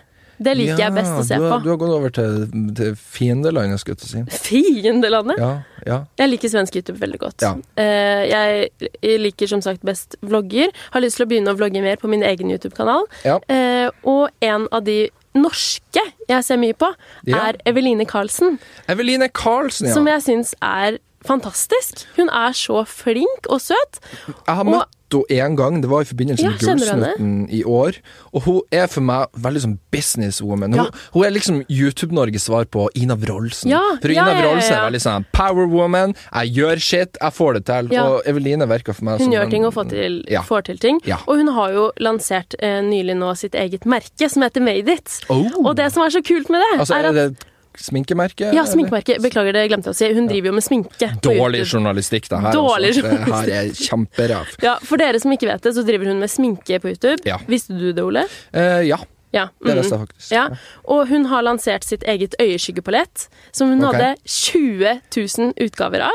Det liker
Ja,
jeg best å se
du har, Du
på.
har gått over til, til fiendelandet, skulle jeg til å si.
Fiendelandet.
Ja, ja.
Jeg liker svensk YouTube veldig godt.
Ja.
Eh, Jeg jeg liker som sagt best vlogger. Har lyst til å begynne å vlogge mer på min egen YouTube-kanal.
Ja.
Eh, Og en av de norske jeg ser mye på,
Ja.
er Eveline Karlsen.
Eveline Karlsen, ja.
Som
Jeg,
jeg syns er fantastisk. Hun er så flink og søt.
har
og-
møtt henne én gang, det var i forbindelse
Ja,
med
kjenner du henne?
Gullsnutten i år. Og hun er for meg veldig sånn businesswoman.
Ja.
Hun, hun er liksom YouTube-Norges svar på Ina Wroldsen.
Ja,
for
ja,
Ina
ja, ja,
Wroldsen er
ja.
veldig sånn powerwoman, jeg gjør shit, jeg får det til.
Ja.
Og Eveline verker for meg
Hun
som
gjør
en-
ting og får til,
Ja.
får til ting.
Ja.
Og hun har jo lansert eh, nylig nå sitt eget merke som heter Made It.
Oh.
Og det som er så kult med det,
altså,
er
er
at
det et sminkemerke?
Ja,
eller?
sminkemerke. Beklager, det glemte jeg å si. Hun driver jo med sminke. på
Dårlig
YouTube.
journalistikk, det her.
Dårlig
altså. Det her er kjemperæv.
Ja, For dere som ikke vet det, så driver hun med sminke på YouTube.
Ja.
Visste du det, Ole?
Eh, ja,
Ja.
det
mhm.
visste jeg faktisk.
Ja, Og hun har lansert sitt eget øyeskyggepalett, som hun
Ok.
hadde 20 000 utgaver av.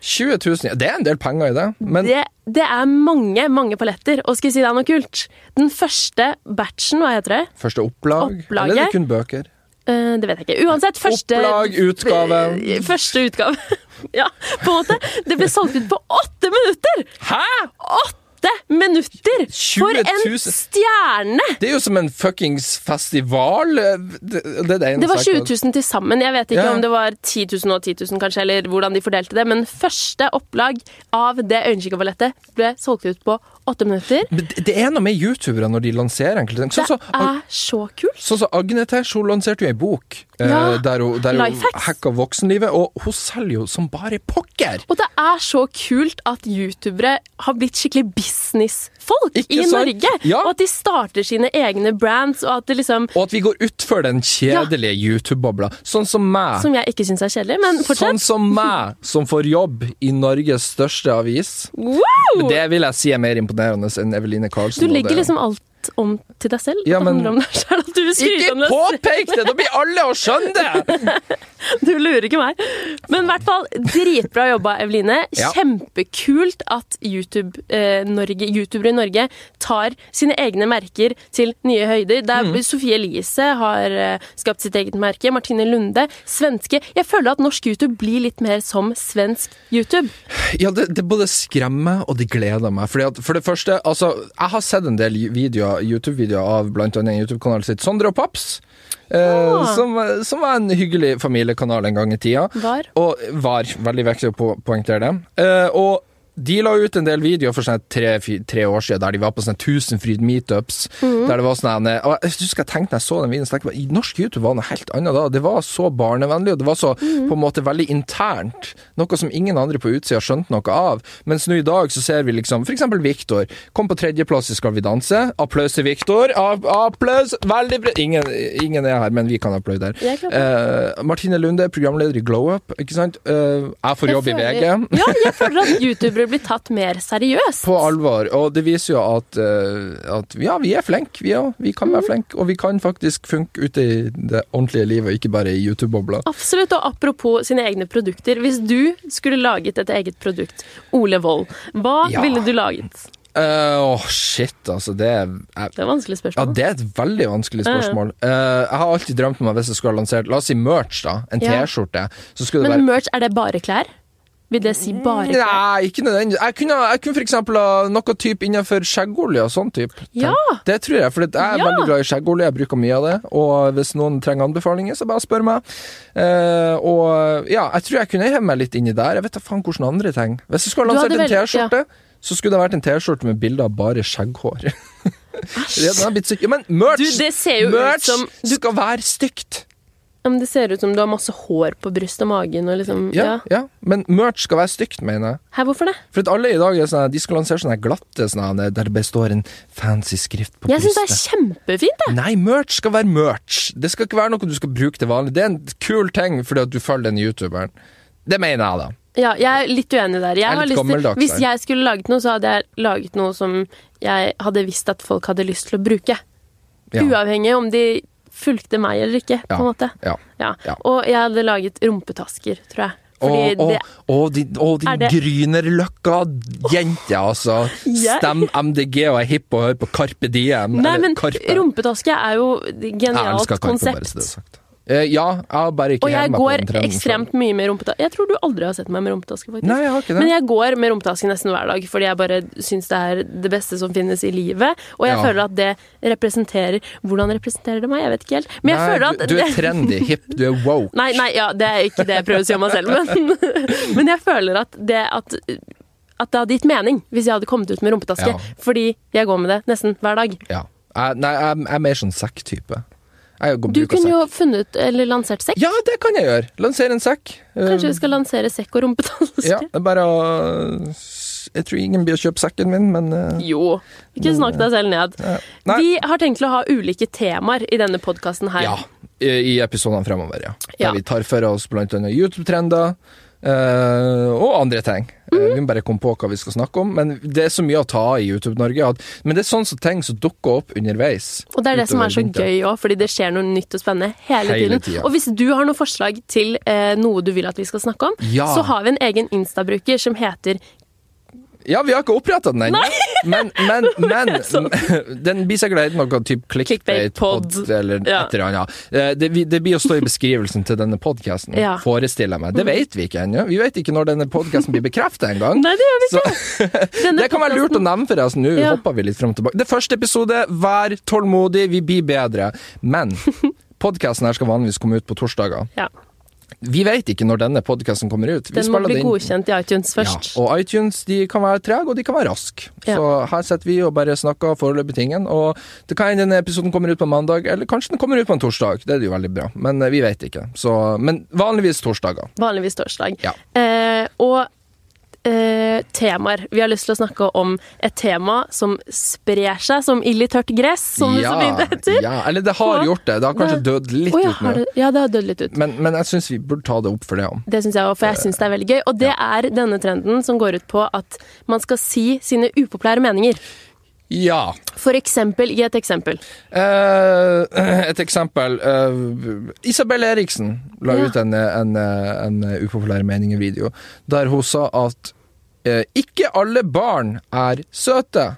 20 000, ja, det er en del penger i det, men
Det, det er mange, mange paletter. Og skal jeg si deg noe kult? Den første batchen, hva heter det?
første opplag?
Opplaget?
Eller er det kun bøker?
Eh, det vet jeg ikke. Uansett, første
Opplag,
(laughs)
utgave.
Første utgave. ja, på en måte. Det ble solgt ut på åtte minutter!
Hæ?!
Åtte minutter! For
20 000.
en stjerne!
Det er jo som en fuckings festival. eh, Det, det, er det,
Det var 20 000 til sammen. Jeg vet ikke
Ja.
om det var 10 000 og 10 000, kanskje, eller hvordan de fordelte det, men første opplag av det øyenskikkerballettet ble solgt ut på åtte minutter.
Det er noe med youtubere når de lanserer enkelte ting.
Det
Sånn som
er så kult!
sånn som Agnetesh, hun lanserte jo ei bok eh,
Ja,
der hun, der hun
Lifehacks.
hacka voksenlivet, og hun selger jo som bare pokker!
Og det er så kult at youtubere har blitt skikkelig businessfolk
Ikke
i
sant?
Norge.
Ja.
Og at de starter sine egne brands, og at det liksom
Og at vi går utfor den kjedelige YouTube-bobla. Sånn som meg.
Som jeg ikke syns er kjedelig, men
Sånn
fortsett.
som meg, som får jobb i Norges største avis.
Wow!
Det vil jeg si er mer imponerende enn Eveline Karlsen.
Du
og
legger
det-
liksom alt om til deg selv.
Ja,
at det
men-
handler om deg selv, at du skryter om deg
Ikke
selv.
påpek det! Da blir alle å skjønne det!
(laughs) Du lurer ikke meg. Men i hvert fall, dritbra jobba, Eveline.
Ja.
Kjempekult at YouTube, eh, Norge, youtubere i Norge tar sine egne merker til nye høyder. Der
Mm.
Sofie Elise har eh, skapt sitt eget merke. Martine Lunde. Svenske. Jeg føler at norsk YouTube blir litt mer som svensk YouTube.
Ja, det, det både skremmer meg, og det gleder meg. Fordi at, for det første, altså, jeg har sett en del videoer videoer YouTube-videoer av blant annet YouTube-kanalen sitt Sondre og Paps. eh,
Ah.
som, som var en hyggelig familiekanal en gang i tida.
Var.
Og var veldig viktig å po- poengtere det. Eh, og de la ut en del videoer for sånn tre, fi- tre år siden der de var på sånn Tusenfryd meetups. Der det var sånn en- og Jeg husker jeg tenkte når jeg så den videoen, så tenkte jeg bare, norsk YouTube var noe helt annet da. Det var så barnevennlig, og det var så på en måte veldig internt. Noe som ingen andre på utsida skjønte noe av. Mens nå i dag så ser vi liksom f.eks. Viktor. Kom på tredjeplass i Skal vi danse. Applaus til Viktor. App- Applaus! Veldig bra! Ingen, ingen er her, men vi kan applaudere.
Jeg kan
Eh, Martine Lunde, programleder i Glow Up. Ikke sant? Eh, jeg får jobb i VG.
(laughs) Ja, jeg føler at youtubere blir tatt mer seriøst.
På alvor. Og det viser jo at, eh, at ja, vi er flinke, vi òg. Vi kan
Mm.
være flinke. Og vi kan faktisk funke ute i det ordentlige livet, ikke bare i YouTube-bobla.
Absolutt, og apropos sine egne produkter. Hvis du skulle laget et eget produkt, Ole Wold, hva
Ja.
ville du laget?
Eh, Åh, shit, altså. Det er jeg-
Det er et vanskelig
ja,
spørsmål.
det er et veldig vanskelig
Ja, ja.
spørsmål. Eh, jeg har alltid drømt om at hvis jeg skulle ha lansert La oss si merch, da. En
Ja.
T-skjorte. Så skulle det være
Men merch, er det bare klær? Vil det si bare klær?
Nei, ikke nødvendigvis. Jeg kunne, jeg kunne for eksempel ha noe type innenfor skjeggolje og sånn type. ting.
Ja.
Det tror jeg, for jeg er
Ja.
veldig glad i skjeggolje, jeg bruker mye av det. Og hvis noen trenger anbefalinger, så bare spør meg. Eh, og ja, jeg tror jeg kunne heve meg litt inni der. Jeg vet da faen hvordan andre ting. Hvis jeg skulle ha
Du
lansert
hadde
en
vel-
T-skjorte, så skulle det vært en T-skjorte med bilde av bare skjegghår. (laughs) Ja, den har blitt syk. Ja, men merch,
Du, det ser jo ut
merch
som- du-
skal være stygt!
Ja, men det ser ut som du har masse hår på brystet og magen. Og liksom,
Ja,
ja.
ja. Men merch skal være stygt, mener jeg.
Hæ, hvorfor det?
For at alle i dag er sånne, de skal lansere sånne glatte sånne, der det består en fancy skrift på
Jeg syns det er
brystet.
kjempefint. det.
Nei, merch skal være merch. Det skal ikke være noe du skal bruke til vanlig. Det er en kul ting fordi at du følger den youtuberen. Det mener jeg, da.
Ja, jeg er litt uenig der. Jeg
er
har
litt
lyst til,
gammeldags
hvis
der.
jeg skulle laget noe, så hadde jeg laget noe som jeg hadde visst at folk hadde lyst til å bruke.
Ja.
Uavhengig om de fulgte meg eller ikke. på en måte.
Ja.
Ja.
Ja.
Og jeg hadde laget rumpetasker, tror jeg. Fordi
Og, og,
det
og din, og din
Er det-
Grünerløkka-jente, altså.
Jeg-
Stem MDG og er hipp og hører på Carpe Diem.
Nei,
eller
men
Karpe.
rumpetaske er jo et
Jeg
genialt
elsker Karpe, bare så det er
konsept.
sagt. Eh, ja, jeg har bare ikke
Og jeg
hengt meg på
går
den trenden selv.
ekstremt mye med rumpetaske. Jeg tror du aldri har sett meg med rumpetaske, faktisk.
Nei, jeg har ikke det.
Men jeg går med rumpetaske nesten hver dag, fordi jeg bare syns det er det beste som finnes i livet. Og jeg
Ja.
føler at det representerer Hvordan representerer det meg? Jeg vet ikke helt. Men jeg
Nei,
føler at
du, du er trendy, hipp, du er woke.
Nei, nei, ja, det er ikke det jeg prøver å si om meg selv, men, (laughs) men jeg føler at det, at, at det hadde gitt mening hvis jeg hadde kommet ut med rumpetaske.
Ja.
Fordi jeg går med det nesten hver dag.
Ja. Jeg, nei, jeg, jeg er mer sånn sekk-type. Jeg går-
Du
bruker
kunne
sekk.
jo funnet eller lansert sekk.
Ja, det kan jeg gjøre. Lansere en sekk. Eh,
Kanskje vi skal lansere sekk og rumpetaske?
Ja, det er bare å Jeg tror ingen blir å kjøpe sekken min, men eh,
Jo. Ikke snakk deg selv ned.
Nei.
Vi har tenkt til å ha ulike temaer i denne podkasten her.
Ja. I, i episodene fremover, ja. Der
Ja.
vi tar for oss blant annet YouTube-trender. eh, og andre ting. Eh,
Mhm.
vi må bare komme på hva vi skal snakke om. Men det er så mye å ta i YouTube-Norge. at- Men det er sånne ting som dukker opp underveis.
Og det er det som er så
utover vinteren.
gøy òg, fordi det skjer noe nytt og spennende hele,
Hele
tiden.
tida.
Og hvis du har noen forslag til eh, noe du vil at vi skal snakke om,
Ja.
så har vi en egen Insta-bruker som heter
Ja, vi har ikke oppretta den ennå,
(laughs)
men, men, men (laughs) den blir sikkert et noe type
Clickbait-pod.
clickbait-pod eller et
Ja.
eller annet. Eh, Det, vi- det blir å stå i beskrivelsen til denne podkasten,
Ja.
forestiller jeg meg. Det vet vi ikke ennå. Vi vet ikke når denne podkasten blir bekrefta engang.
Nei, det gjør vi ikke.
(laughs)
Denne
Det kan være lurt å nevne, forresten. Nå
Ja.
hopper vi litt fram og tilbake. Det er første episode, vær tålmodig, vi blir bedre.
(laughs)
Men podkasten her skal vanligvis komme ut på torsdager.
Ja,
Vi vet ikke når denne podkasten kommer ut. Vi
Den må
spiller
bli
det inn-
godkjent i iTunes først.
ja, og iTunes de kan være trege, og de kan være raske.
Ja.
Så her sitter vi og bare snakker foreløpig tingen. Og det kan hende denne episoden kommer ut på mandag, eller kanskje den kommer ut på en torsdag. Det er jo veldig bra, men eh, vi vet ikke. Så, men vanligvis torsdager.
Vanligvis torsdag.
Ja.
Eh, og eh, temaer. Vi har lyst til å snakke om et tema som sprer seg som ild i tørt gress, Sånn som det så fint heter.
ja, eller det har
Hva?
gjort det. Det har kanskje
Det-
dødd litt
Å ja,
ut
har
nå.
det, ja, det har dødd litt ut.
Men, men jeg syns vi burde ta det opp for det òg.
Det syns jeg òg, for jeg syns det er veldig gøy. Og det er denne trenden som går ut på at man skal si sine upopulære meninger.
Ja.
For eksempel, gi et eksempel.
Eh, (clears throat) et eksempel. eh, Isabel Eriksen la
Ja.
ut en, en, en upopulær mening-video der hun sa at eh, ikke alle barn er søte.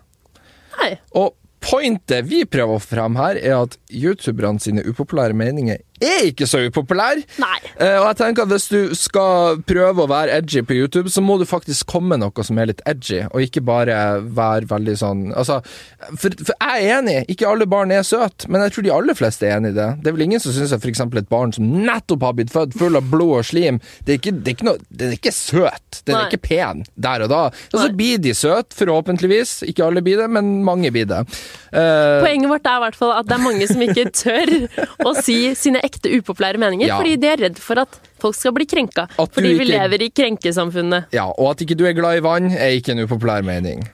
Nei.
Og pointet vi prøver å få fram her, er at youtuberne sine upopulære meninger er ikke så upopulære.
Nei.
Eh, og jeg tenker at Hvis du skal prøve å være edgy på YouTube, så må du faktisk komme med noe som er litt edgy, og ikke bare være veldig sånn altså, for, for jeg er enig, ikke alle barn er søte, men jeg tror de aller fleste er enig i det. Det er vel ingen som syns at f.eks. et barn som nettopp har blitt født, full av blod og slim, det er ikke, det er ikke, noe, den er ikke søt. Den
Nei.
er ikke pen der og da. Og så
Nei.
blir de søte, forhåpentligvis. Ikke alle blir det, men mange blir det. Eh,
Poenget vårt er i hvert fall at det er mange som
(laughs)
ikke tør å si sine ekte upopulære meninger,
Ja.
fordi de er redd for at folk skal bli krenka.
At du
Fordi vi
ikke-
lever i krenkesamfunnet.
ja, og at ikke du er glad i vann, er ikke en upopulær mening.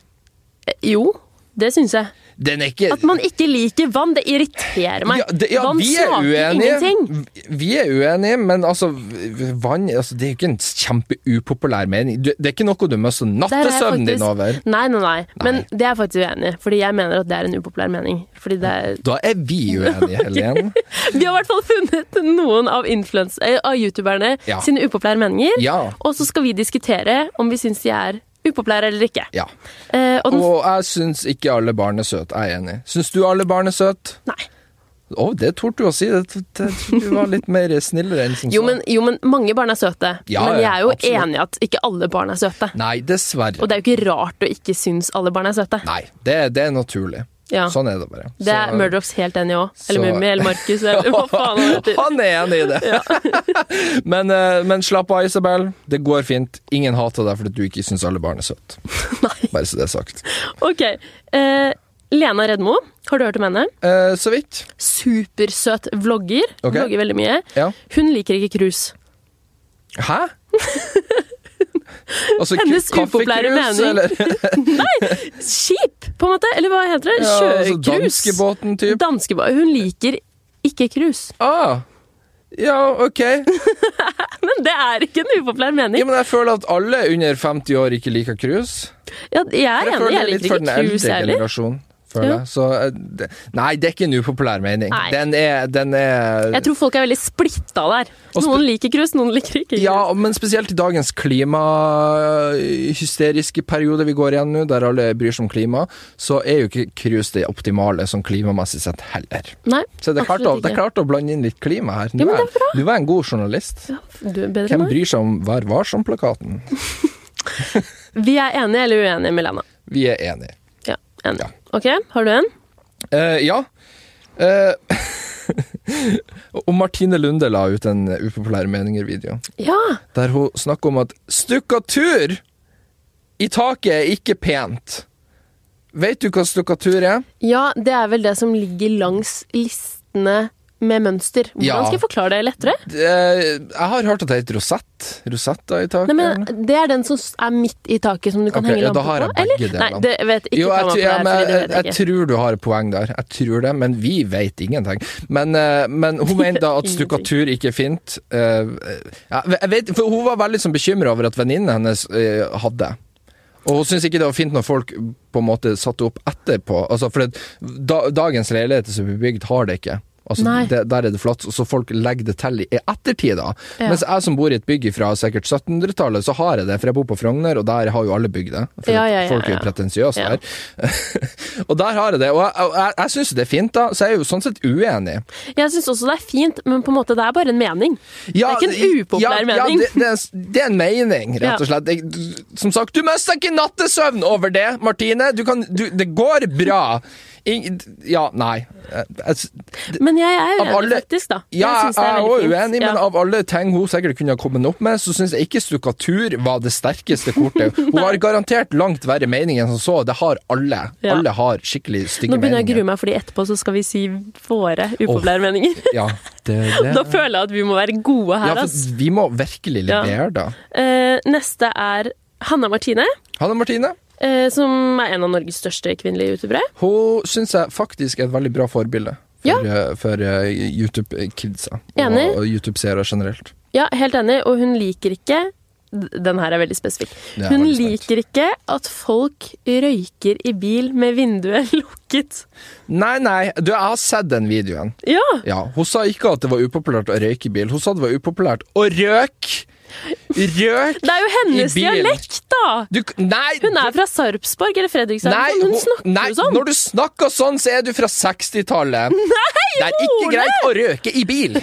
Eh, Jo, det syns jeg.
Den er ikke
At man ikke liker vann, det irriterer meg.
Ja, det, ja,
vann
vi er
smaker
uenige.
ingenting.
V- Vi er uenige, men altså v- Vann altså, Det er jo ikke en kjempeupopulær mening. Du, det er ikke noe du mister
Der er jeg
nattesøvnen din
faktisk-
over.
Nei, nei, nei. Men det er jeg faktisk uenig i, fordi jeg mener at det er en upopulær mening. Fordi det er
Da er vi
(laughs)
uenige, Helen.
Vi har i hvert fall funnet noen av, influens- eh, av youtuberne
Ja.
sine upopulære meninger.
Ja.
Og så skal vi diskutere om vi syns de er upopulære eller ikke.
ja.
Eh, og den,
Og jeg syns ikke alle barn er søte. Jeg er enig. Syns du alle barn er søte?
nei.
Å, det torde du å si. Det, det, jeg tror du var litt mer snillere enn som
Jo,
så.
men, jo, men mange barn er søte.
Ja,
men jeg er jo
ja, absolutt.
enig i at ikke alle barn er søte.
Nei, dessverre.
Og det er jo ikke rart å ikke synes alle barn er søte.
Nei, det, det er naturlig.
Ja.
Sånn er det bare.
Det er
Så-
Murdochs helt enig òg. Eller
Så-
Mummi eller Markus eller
(laughs)
hva faen han heter.
Han er enig i det. (laughs) men, eh, men slapp av, Isabel. Det går fint. Ingen hater deg fordi du ikke syns alle barn er søte.
Nei.
Bare så det er sagt.
Ok. Eh, Lena Redmo, har du hørt om henne?
Eh, så vidt.
Supersøt vlogger.
Ok.
Vlogger veldig mye.
Ja.
Hun liker ikke krus.
Hæ?
(laughs)
Altså,
Hennes
ku-
upopulære
kaffekrus,
mening.
eller-
(laughs) Skip, på en måte? Eller hva heter det?
Ja, altså,
Sjøkrus?
Danskebåten, type.
Danskebåt. Hun liker ikke krus. (laughs)
Ah. Ja, ok.
Men det er ikke en upopulær
Ja,
mening.
men jeg føler at alle under 50 år ikke liker cruise.
Ja, jeg er
Jeg
enig,
føler det
jeg
er litt
liker
for den
ikke krus
eldre
heller.
generasjonen. Føler
Ja.
jeg. Så, eh, det- nei, det er ikke en upopulær mening.
Nei.
Den er, den er
Jeg tror folk er veldig splitta der.
Og spe-
Noen liker krus, noen liker ikke krus.
Ja, men spesielt i dagens klimahysteriske periode vi går igjen nå, der alle bryr seg om klima, så er jo ikke cruise det optimale sånn klimamessig sett heller.
Nei,
Så det er klart, å,
absolutt
det er
ikke.
klart å blande inn litt klima her.
Ja,
Du
men
er, du er en god journalist.
Du er bedre enn
Hvem
meg.
bryr seg om Vær varsom-plakaten?
Vi er enige eller uenige med Lena.
Vi er enige.
Ja,
Ja.
enige. Ok, har du en?
Eh, ja. Eh, (laughs) og Martine Lunde la ut en upopulære meninger-video.
Ja.
der hun snakker om at stukkatur i taket er ikke pent. Vet du hva stukkatur er?
ja, det er vel det som ligger langs listene med mønster. Hvordan
Ja.
skal jeg forklare det lettere?
Det- Jeg har hørt at det heter rosett. Rosetter i taket.
Nei, men Det er den som s- er midt i taket, som du kan
Ok,
henge
ja,
lampe
da har jeg
på? Eller?
begge
Nei,
delene.
det jeg vet ikke.
jo, jeg,
ta meg
tror- ja,
på det,
men
her, fordi det
jeg,
vet jeg
jeg,
ikke.
tror du har et poeng der. Jeg tror det, men vi vet ingenting. Men, eh, men hun mener da
(laughs)
at
Ingenting.
stukkatur ikke er fint. Eh, ja, jeg vet, for hun var veldig sånn bekymra over at venninnen hennes eh, hadde. Og hun syntes ikke det var fint når folk på en måte satte opp etterpå. Altså, for det, da, dagens leiligheter som blir bygd, har det ikke. Altså,
Nei.
det, der er det flatt, så folk legger det til i ettertid. da.
Ja.
Mens jeg som bor i et bygg fra sikkert 1700-tallet, så har jeg det, for jeg bor på Frogner, og der har jo alle bygd det. For
Ja,
at
ja, ja,
folk er jo
ja.
pretensiøse
Ja.
der. (laughs) og der har jeg det. Og jeg, og jeg, jeg syns det er fint, da, så jeg er jo sånn sett uenig.
Jeg syns også det er fint, men på en måte det er bare en mening. Det
Ja,
er ikke en upopulær
ja, ja,
mening.
det, det, er, det er en mening,
Ja.
rett og slett. Jeg, du- som sagt, du mister ikke nattesøvn over det, Martine. Du kan, du, det går bra. Ing, ja, nei. Jeg, jeg,
Men jeg er
Av
uenig,
alle-
faktisk. da.
Ja,
synes det
jeg er
veldig
også
fint.
uenig, men
Ja.
av alle ting hun sikkert kunne ha kommet opp med, så syns jeg ikke stukkatur var det sterkeste
(laughs)
kortet. Hun har garantert langt verre mening enn som så, det har alle.
Ja.
Alle har skikkelig stygge
Nå begynner jeg å grue
meninger.
meg, fordi etterpå så skal vi si våre upopulære meninger.
Ja, det, det.
Da føler jeg at vi må være gode
ja,
her, altså.
for vi må virkelig
Ja.
levere, da.
Eh, neste er Hanna Martine,
Hanne Martine,
eh, som er en av Norges største kvinnelige youtubere.
hun syns jeg faktisk er et veldig bra forbilde. For,
Ja.
eh, for eh, YouTube-kidsa og,
Enig.
og YouTube-seere generelt.
Ja, helt enig, og hun liker ikke den her er veldig spesifikk.
Det er
Hun
veldig spesielt.
liker ikke at folk røyker i bil med vinduet (laughs) lukket.
Nei, nei, du, jeg har sett den videoen.
Ja!
Ja, Hun sa ikke at det var upopulært å røyke i bil, hun sa det var upopulært å røyke Røk
Det er jo hennes
I bilen.
dialekt, da!
du, Nei!
Hun er fra Sarpsborg eller Fredrikstad.
Nei,
eller noe
hun-
sånt. hun snakker
nei,
jo sånn.
når du snakker sånn, så er du fra
(laughs)
60-tallet. Det er ikke
Ole!
greit å røke i bil.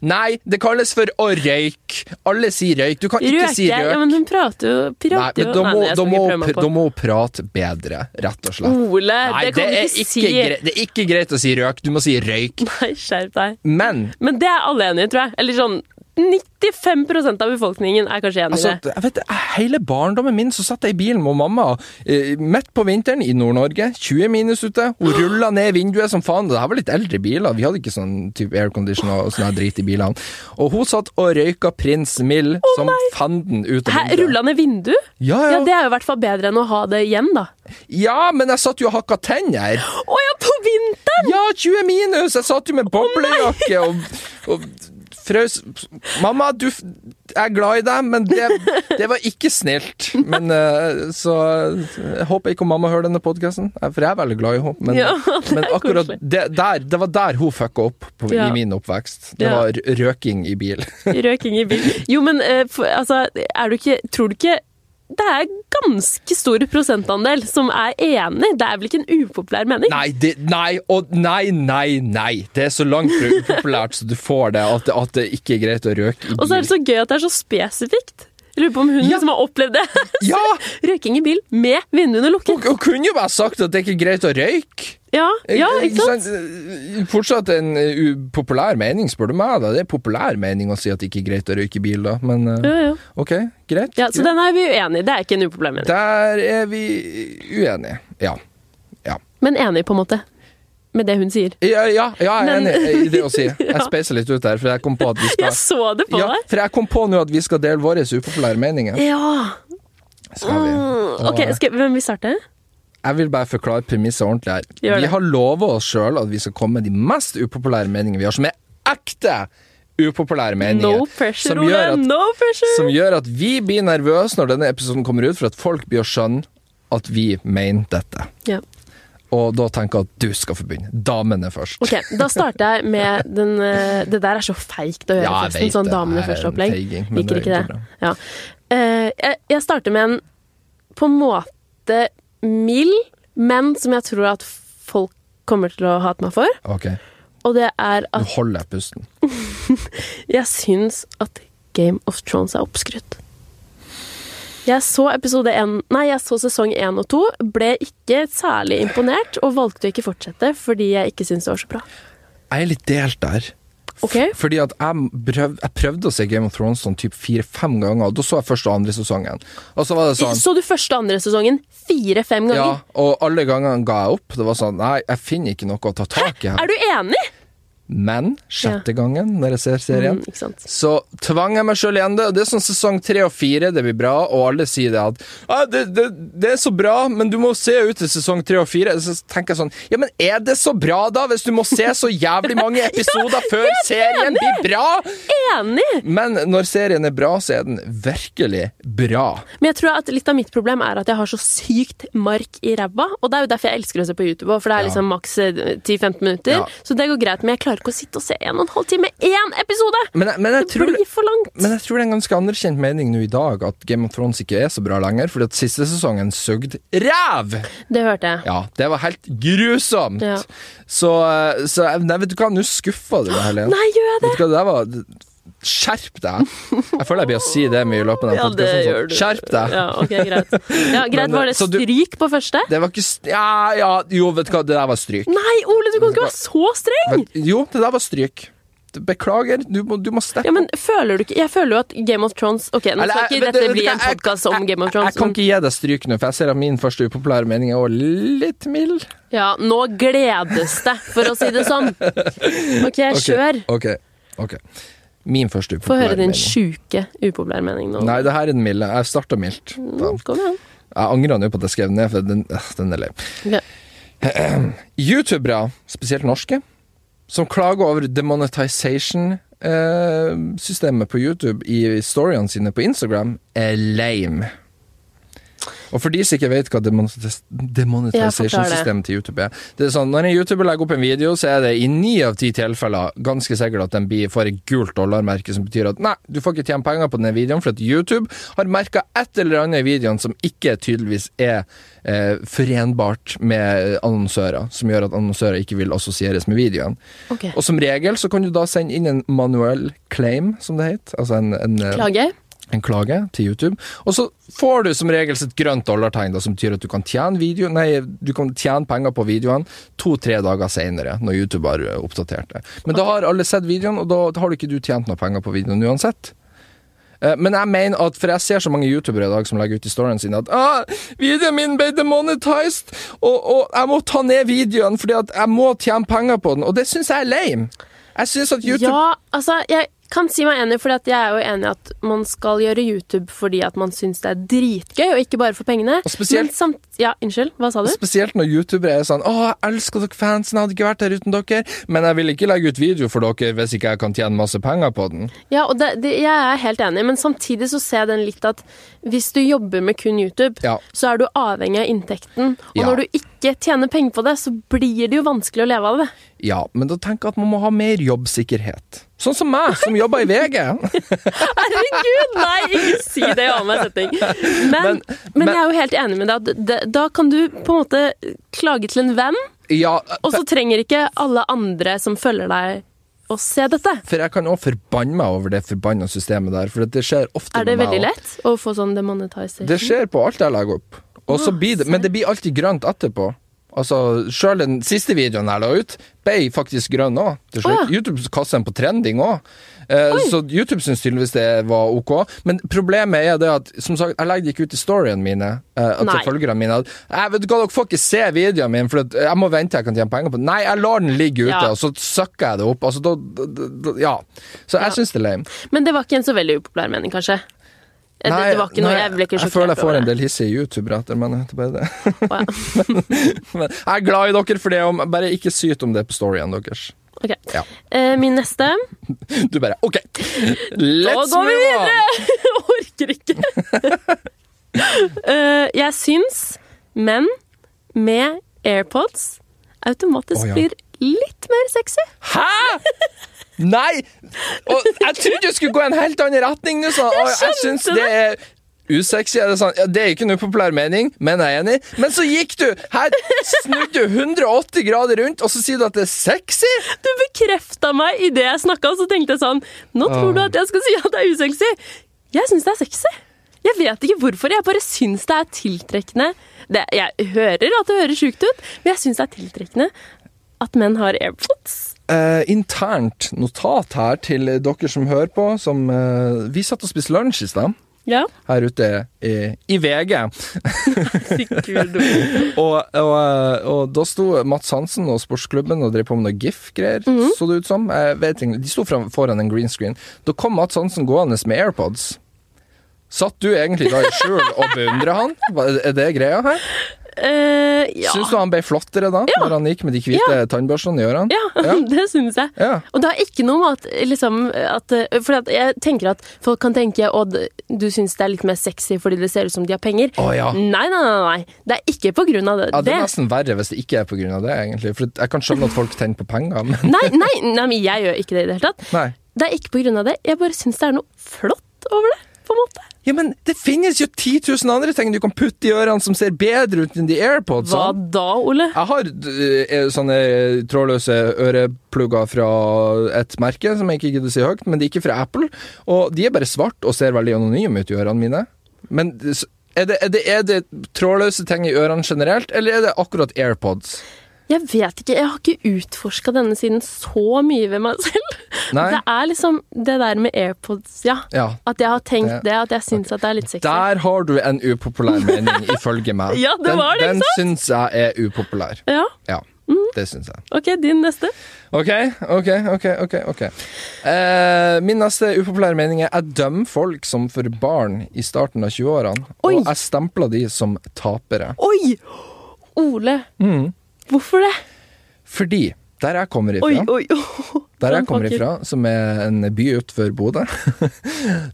Nei, det kalles for å røyke. Alle sier røyk. Du kan ikke
Røker.
si røk.
Ja, men hun prater jo
Nei,
prater
men
jo
da må,
jeg
da,
skal
må,
ikke prøve meg
pr-
på.
da må hun prate bedre, rett og slett.
Ole,
Nei,
det kan du
er
ikke si.
greit- det er ikke greit å si røk, du må si røyk.
Nei, skjerp deg.
Men
Men det er alle enige i, tror jeg. Eller sånn 95 av befolkningen er kanskje enig i
altså,
det.
jeg vet, hele barndommen min så satt jeg i bilen med mamma eh, midt på vinteren i Nord-Norge. 20 minus ute. Hun rulla ned vinduet som faen. Det her var litt eldre biler. Vi hadde ikke sånn type aircondition og sånn her drit i bilene. Og hun satt og røyka Prins Mill som fanden ut av
Hæ,
vinduet.
rulla ned vindu?
Ja,
Ja,
ja.
det er jo i hvert fall bedre enn å ha det igjen, da.
ja, men jeg satt jo og hakka tenner.
Å ja, på
(laughs)
vinteren!
Ja, 20 minus! Jeg satt jo med boblejakke og, og frøs Mamma, du f- jeg er glad i deg, men det, det var ikke snilt. Men eh, så Jeg håper ikke mamma hører denne podkasten, for jeg er veldig glad i henne. Men,
Ja, det er
men akkurat
koselig.
det, der, det var der hun fucka opp på,
Ja.
i min oppvekst. Det
Ja.
var r- røking i bil. (laughs)
Røking i bil. Jo, men eh, for, altså, er du ikke Tror du ikke det er ganske stor prosentandel som er enig. Det er vel ikke en upopulær mening?
Nei, det, nei, og nei, nei, nei! Det er så langt fra upopulært så du får det, at, det- at det ikke er greit å røke i
Og så er det
bil.
så gøy at det er så spesifikt. Jeg Lurer på om hun
Ja.
liksom har opplevd det. (laughs)
Ja!
Røking i bil med vinduene
Hun,
lukket.
hun kunne jo bare sagt at det ikke er greit å røyke.
Ja, ja ikke sant?
sant? Fortsatt en eh, upopulær mening, spør du meg. da. Det er populær mening å si at det ikke er greit å røyke i bil, da. Men eh,
Ja, ja.
OK, greit.
Ja, så den er vi uenige i. Det er ikke en upopulær mening.
Der er vi uenige. Ja. Ja,
Men enig, på en måte. Med det hun sier.
ja, ja, ja jeg er
Men-
enig i det
(laughs)
å si. Jeg
Ja.
speiser litt ut der, for jeg kom på at vi
(laughs) Jeg
skal
så det på
ja,
deg!
for jeg kom på nå at vi skal dele våre upopulære meninger.
Ja.
Skal vi?
Mm, Ok,
Og-
skal, Hvem vil starte?
Jeg vil bare forklare premisset ordentlig her.
Gjør det.
Vi har lova oss sjøl at vi skal komme med de mest upopulære meningene vi har, som er ekte upopulære meninger.
No pressure,
som
Ole!
gjør at,
No pressure!
Som gjør at vi blir nervøse når denne episoden kommer ut, for at folk blir å skjønne at vi mener dette.
Ja.
Og da tenker jeg at du skal få begynne. Damene først.
Ok, Da starter jeg med den eh, Det der er så feigt å gjøre,
Ja, jeg
forresten.
vet
Sånn
det
damene
er en
først-opplegg.
feiging, men
Liker
det
ikke det.
går bra.
Ja. Eh, jeg, jeg starter med en på en måte mild, men som jeg tror at folk kommer til å hate meg for.
Ok,
Og det er
Nå
at
holder jeg pusten.
jeg syns at Game of Thrones er oppskrytt. Jeg så episode 1, nei, jeg så sesong 1 og 2, ble ikke særlig imponert og valgte å ikke fortsette fordi jeg ikke syntes det var så bra.
Jeg er litt delt der.
Ok?
Fordi at jeg, prøv, jeg prøvde å se Game of Thrones sånn typ fire-fem ganger, og da så jeg første og andre sesongen. Og så var det sånn
Så du første og andre sesongen fire-fem
Ja,
ganger?
og alle gangene ga jeg opp. Det var sånn Nei, jeg finner ikke noe å ta tak i her.
Er du enig?
Men sjette gangen, når jeg ser serien,
Mm, ikke sant?
så tvang jeg meg sjøl igjen det. Det er sånn sesong tre og fire, det blir bra, og alle sier det at ah, det, det, 'Det er så bra, men du må se ut til sesong tre og fire'. Så tenker jeg sånn Ja, men er det så bra, da? Hvis du må se så jævlig
(laughs)
mange episoder før serien blir bra?
Enig!
Men når serien er bra, så er den virkelig bra.
Men jeg tror at litt av mitt problem er at jeg har så sykt mark i ræva. Og det er jo derfor jeg elsker å se på YouTube, for det er
Ja.
liksom maks eh, 10-15 minutter.
Ja.
Så det går greit, men jeg klarer ikke å sitte og se en og en halv time én episode!
Men, jeg- men jeg
Det
tror
blir for langt.
Men jeg tror det er en ganske anerkjent mening nå i dag at Game of Thrones ikke er så bra lenger, fordi at siste sesongen sugde ræv!
Det hørte jeg.
Ja, det var helt grusomt!
Ja.
Så, eh, så jeg- nei, vet du hva, nå skuffa du meg, Helene.
Nei, gjør jeg det?
Vet du hva, det der var Skjerp deg! Jeg føler jeg blir å si det mye i løpet av den podcasten, sånn, Skjerp deg!
Ja, ok, greit.
(laughs)
Ja, greit,
Men, eh,
Var det
så du-
stryk på første?
Det var ikke s- Ja, ja, jo, vet du hva, det der var stryk.
Nei, Ole, du kan ikke være så streng!
Vet- Jo, det der var stryk. Beklager, du må, du må steppe
Ja, men føler du ikke Jeg føler jo at Game of Thrones Ok, nå
Eller, eh,
skal
jeg-
ikke
vet du-
dette
vet du
bli
hva,
en
jeg-
podkast om Game of
Jeg
Thrones.
kan ikke gi deg stryk nå, for jeg ser at min første upopulære mening er også litt mild.
men- Ja, nå gledes det, for å si det
(laughs)
sånn. Ok, kjør.
Ok, ok. Min første
Få
upopulære
høre din
mening.
sjuke upopulære mening nå.
Nei, det her er den milde. Jeg starta mildt. Da.
Mm, Kom igjen.
Jeg angrer nå på at jeg skrev den ned, for den, øh, den er lei.
Ok.
Youtubere, spesielt norske, som klager over eh, demonetization-systemet på YouTube i storyene sine på Instagram, er lame. Og for de som ikke vet hva demonetis- demonetization-systemet til YouTube er Det er sånn, Når en YouTuber legger opp en video, så er det i ni av ti tilfeller ganske sikkert at den blir, får et gult dollarmerke som betyr at nei, du får ikke tjene penger på denne videoen, for at YouTube har merka et eller annet i videoen som ikke tydeligvis er eh, forenbart med annonsører, som gjør at annonsører ikke vil assosieres med videoen.
Ok.
Og som regel så kan du da sende inn en manuell claim, som det heter. Altså en, en, eh,
Klage?
en klage til YouTube. Og så får du som regel et grønt dollartegn, da, som betyr at du kan tjene, video, nei, du kan tjene penger på videoene to-tre dager senere, når YouTube har eh, oppdatert det. Men da har alle sett videoen, og da, da har du ikke du tjent noe penger på videoen uansett. Eh, Men jeg mener at, for jeg ser så mange youtubere i dag som legger ut i storyen sin at ah, 'Videoen min ble demonetized, og, og jeg må ta ned videoen fordi at jeg må tjene penger på den.' Og det syns jeg er lame. Jeg syns at YouTube
Ja, altså, jeg kan si meg enig, for jeg er jo enig i at man skal gjøre YouTube fordi at man syns det er dritgøy, og ikke bare for pengene.
Og spesielt-
Men samt... Ja, unnskyld, hva sa du?
Spesielt når youtubere er sånn 'Å, jeg elsker dere fansen, jeg hadde ikke vært her uten dere', men jeg vil ikke legge ut video for dere hvis ikke jeg kan tjene masse penger på den.
Ja, og det, det, jeg er helt enig, men samtidig så ser jeg den litt at hvis du jobber med kun YouTube,
Ja.
så er du avhengig av inntekten, og
Ja.
når du ikke tjener penger på det, så blir det jo vanskelig å leve av det.
Ja, men da tenker jeg at man må ha mer jobbsikkerhet. Sånn som meg, som jobber i VG.
(laughs) Herregud, nei, ikke si det i annen setning. Men,
Men-
men,
men-
jeg er jo helt enig med deg. at det- Da kan du på en måte klage til en venn,
Ja,
og så trenger ikke alle andre som følger deg, å se dette.
for jeg kan òg forbanne meg over det forbanna systemet der, for det skjer ofte
Er det
med meg
veldig
også.
lett å få sånn demonetization?
Det skjer på alt jeg legger opp. Og
Ah,
så blir det, men det blir alltid grønt etterpå. Altså, Sjøl den siste videoen jeg la ut, ble faktisk grønn òg.
Å, ja.
YouTube kasta den på trending òg. Eh, så YouTube syns tydeligvis det var ok. Men problemet er det at som sagt, jeg legger det ikke ut i storyene mine eh, at
Nei.
til følgerne mine at jeg vet du hva, dere får ikke se videoen min, for at jeg må vente til jeg kan tjene penger på den. Nei, jeg lar den ligge ute,
Ja.
og så søkker jeg det opp. Altså, da, da, da, ja. Så jeg syns det er lame.
Men det var ikke en så veldig upopulær mening, kanskje? Det, det var ikke noe, jeg ble ikke
jeg
sjokkert
føler jeg
over
får en
det.
del hissige youtubere etter meg. Det er bare det.
Å, ja.
Men jeg er glad i dere for det, om- bare ikke syt om det på storyen deres.
Ok.
Ja.
Eh, min neste.
Du bare OK, let's
går vi
move on!
(laughs) Jeg orker ikke. Eh, jeg syns menn med AirPods automatisk
Å, ja.
blir litt mer sexy.
Hæ?! Nei! Og jeg trodde du skulle gå i en helt annen retning nå, sånn. Og jeg syns det er usexy. Er det, sånn. ja, det er ikke en upopulær mening, men jeg er enig. Men så gikk du her, snudde du 180 grader rundt, og så sier du at det er sexy?!
Du bekrefta meg idet jeg snakka, så tenkte jeg sånn Nå tror
Åh.
du at jeg skal si at det er usexy. Jeg syns det er sexy. Jeg vet ikke hvorfor. Jeg bare syns det er tiltrekkende. Det, jeg hører at det høres sjukt ut, men jeg syns det er tiltrekkende at menn har airpods.
Eh, internt notat her til dere som hører på, som eh, Vi satt og spiste lunsj i stad,
Ja,
her ute i, i VG.
sikkert.
og, og, eh, og da sto Mats Hansen og sportsklubben og drev på med noe GIF-greier,
Mhm.
så det ut som. Jeg vet ikke, de sto fram- foran en green screen. Da kom Mats Hansen gående med AirPods. Satt du egentlig da i skjul og beundra han? Hva- Er det greia her?
Eh, ja.
Syns du han ble flottere da, når han gikk med de hvite tannbørsene i ørene?
Ja, (laughs) det syns jeg.
Ja.
Og det er ikke noe med at, liksom, at For at jeg tenker at folk kan tenke Odd, du syns det er litt mer sexy fordi det ser ut som de har penger.
Å, ja.
Nei, nei, nei, nei. Det er ikke på grunn av det.
Ja, Ah. det er
Mm, Det-
nesten verre hvis det ikke er pga. det, egentlig. For jeg kan skjønne at folk tenner på penger, men
(laughs) Nei, nei, nei, men jeg gjør ikke det i det hele tatt.
nei.
Det er ikke på grunn av det. Jeg bare syns det er noe flott over det, på en måte.
Ja, men det finnes jo 10 000 andre ting du kan putte i ørene som ser bedre ut enn de AirPods.
Hva da, Ole?
Jeg har d- eh, sånne trådløse øreplugger fra et merke som jeg ikke gidder å si høyt, men de er ikke fra Apple. Og de er bare svart og ser veldig anonyme ut i ørene mine. Men s- er det, er, det, er det trådløse ting i ørene generelt, eller er det akkurat AirPods?
Jeg vet ikke. Jeg har ikke utforska denne siden så mye ved meg selv.
Nei.
Det er liksom det der med AirPods, ja.
Ja.
At jeg har tenkt
Det-
det, at jeg syns at det er litt sexy.
Der har du en upopulær mening, ifølge
(laughs)
meg.
Ja, det var det, ikke Mm.
den den syns jeg er upopulær.
Ja,
Ja, det syns jeg.
ok, din neste.
OK, OK, OK. ok, ok. Eh, min neste upopulære mening er jeg dømmer folk som for barn i starten av 20-årene,
Oi.
og jeg stempler de som tapere.
Oi! Ole,
Mm.
hvorfor det?
Fordi der jeg kommer ifra,
Oi, oi, oi.
der
Den
jeg kommer
pakker.
ifra som (laughs) er en by utenfor Bodø,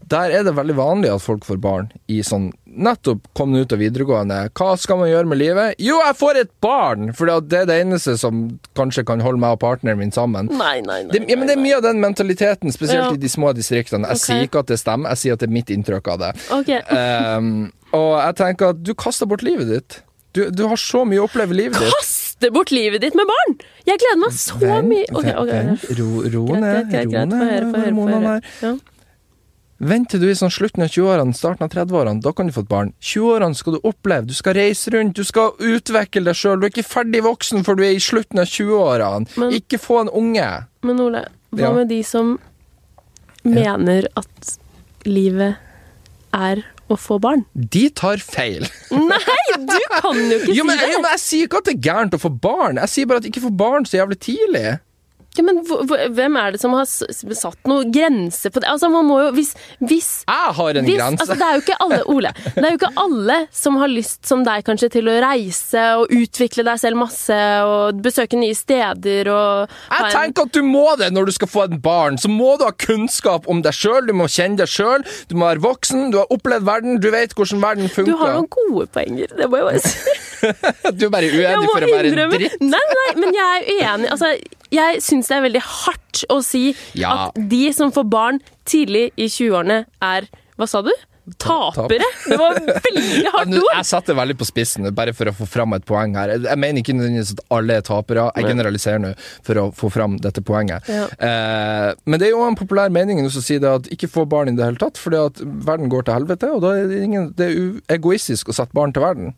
der er det veldig vanlig at folk får barn i sånn nettopp kommet ut av videregående. Hva skal man gjøre med livet? Jo, jeg får et barn! For det er det eneste som kanskje kan holde meg og partneren min sammen.
Nei, nei, nei.
Det, ja, men det er mye av den mentaliteten, spesielt
Ja.
i de små distriktene. Jeg
Ok.
sier ikke at det stemmer, jeg sier at det er mitt inntrykk av det.
Ok.
Ehm, og jeg tenker at du kaster bort livet ditt. Du, du har så mye å oppleve i livet ditt.
Kaste bort livet ditt med barn! Jeg gleder meg så mye. Ok, ok.
vent, ro, ro
Greit,
ned.
greit, greit.
ro
greit. Få høre, få
ned,
høre. Få
Mona
høre.
der.
Ja.
Vent til du er i sånn slutten av 20-årene, starten av 30-årene. Da kan du få et barn. 20-årene skal du oppleve. Du skal reise rundt, du skal utvikle deg sjøl. Du er ikke ferdig voksen før du er i slutten av 20-årene.
Men-
Ikke få en unge.
Men Ole, hva
Ja.
med de som mener at livet er å få barn?
De tar feil.
Nei, du kan jo ikke
Jo, men,
si
jo,
det!
men Jeg sier ikke at det er gærent å få barn, jeg sier bare at ikke få barn så jævlig tidlig.
Ja, men hvor- hvor- hvem er det som har s- satt noen grense på det? Altså, man må jo Hvis, hvis
Jeg har en
Hvis,
grense.
altså, det er jo ikke alle, Ole, det er jo ikke alle som har lyst som deg kanskje til å reise og utvikle deg selv masse og besøke nye steder og ha
jeg
en-
tenker at du må det når du skal få et barn. Så må du ha kunnskap om deg sjøl, du må kjenne deg sjøl, du må være voksen, du har opplevd verden, du vet hvordan verden
Du har
funker.
noen gode poenger, det må jeg bare si.
Du, er bare
Jeg
uenig
må
for å være en
innrømme-
dritt.
Nei, nei, men jeg er uenig. Altså, jeg syns det er veldig hardt å si
Ja.
at de som får barn tidlig i 20-årene, er Hva sa du? Tapere? Det var veldig
(laughs) Ja,
hardt
nå-
ord!
Jeg satte veldig på spissen, bare for å få fram et poeng her. Jeg- Jeg mener ikke nødvendigvis at alle er tapere, jeg generaliserer nå for å få fram dette poenget.
Ja.
Eh, men det er jo en populær mening nå som sier det at ikke få barn i det hele tatt, fordi at verden går til helvete, og da er det, ingen, det er u- egoistisk å sette barn til verden.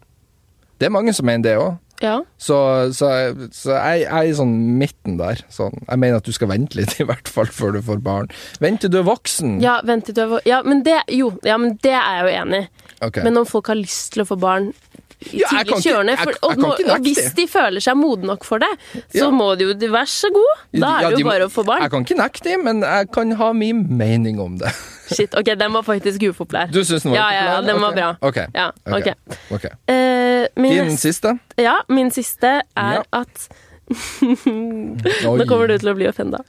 Det er mange som mener det òg.
Ja.
Så, så, jeg- så jeg, jeg er i sånn midten der. Sånn. Jeg mener at du skal vente litt, (laughs) i hvert fall, før du får barn. Vent til du er voksen.
Ja, vent litt. over- Ja, men det, jo, ja, men det er jeg jo enig i.
Ok.
Men om folk har lyst til å få barn i
Ja,
tidlig
jeg kan ikke-
kjørende
jeg-
for,
jeg
og,
kan
må,
ikke nekte
og hvis
det.
de føler seg modne nok for det, så
Ja.
må de jo Vær så god! Da er
Ja,
det
de
jo
må-
bare å få barn.
Jeg kan ikke nekte dem, men jeg kan ha min mening om det. (laughs)
Shit, ok, den var faktisk upopulær.
Du syns den var
Ja, ja, ja,
populær?
den var
Ok.
bra.
Ok,
Ja,
ok,
ok.
ok.
Eh, min,
Din
neste-
siste?
ja, min siste er
Ja.
at (laughs) Nå kommer du til å bli offenda.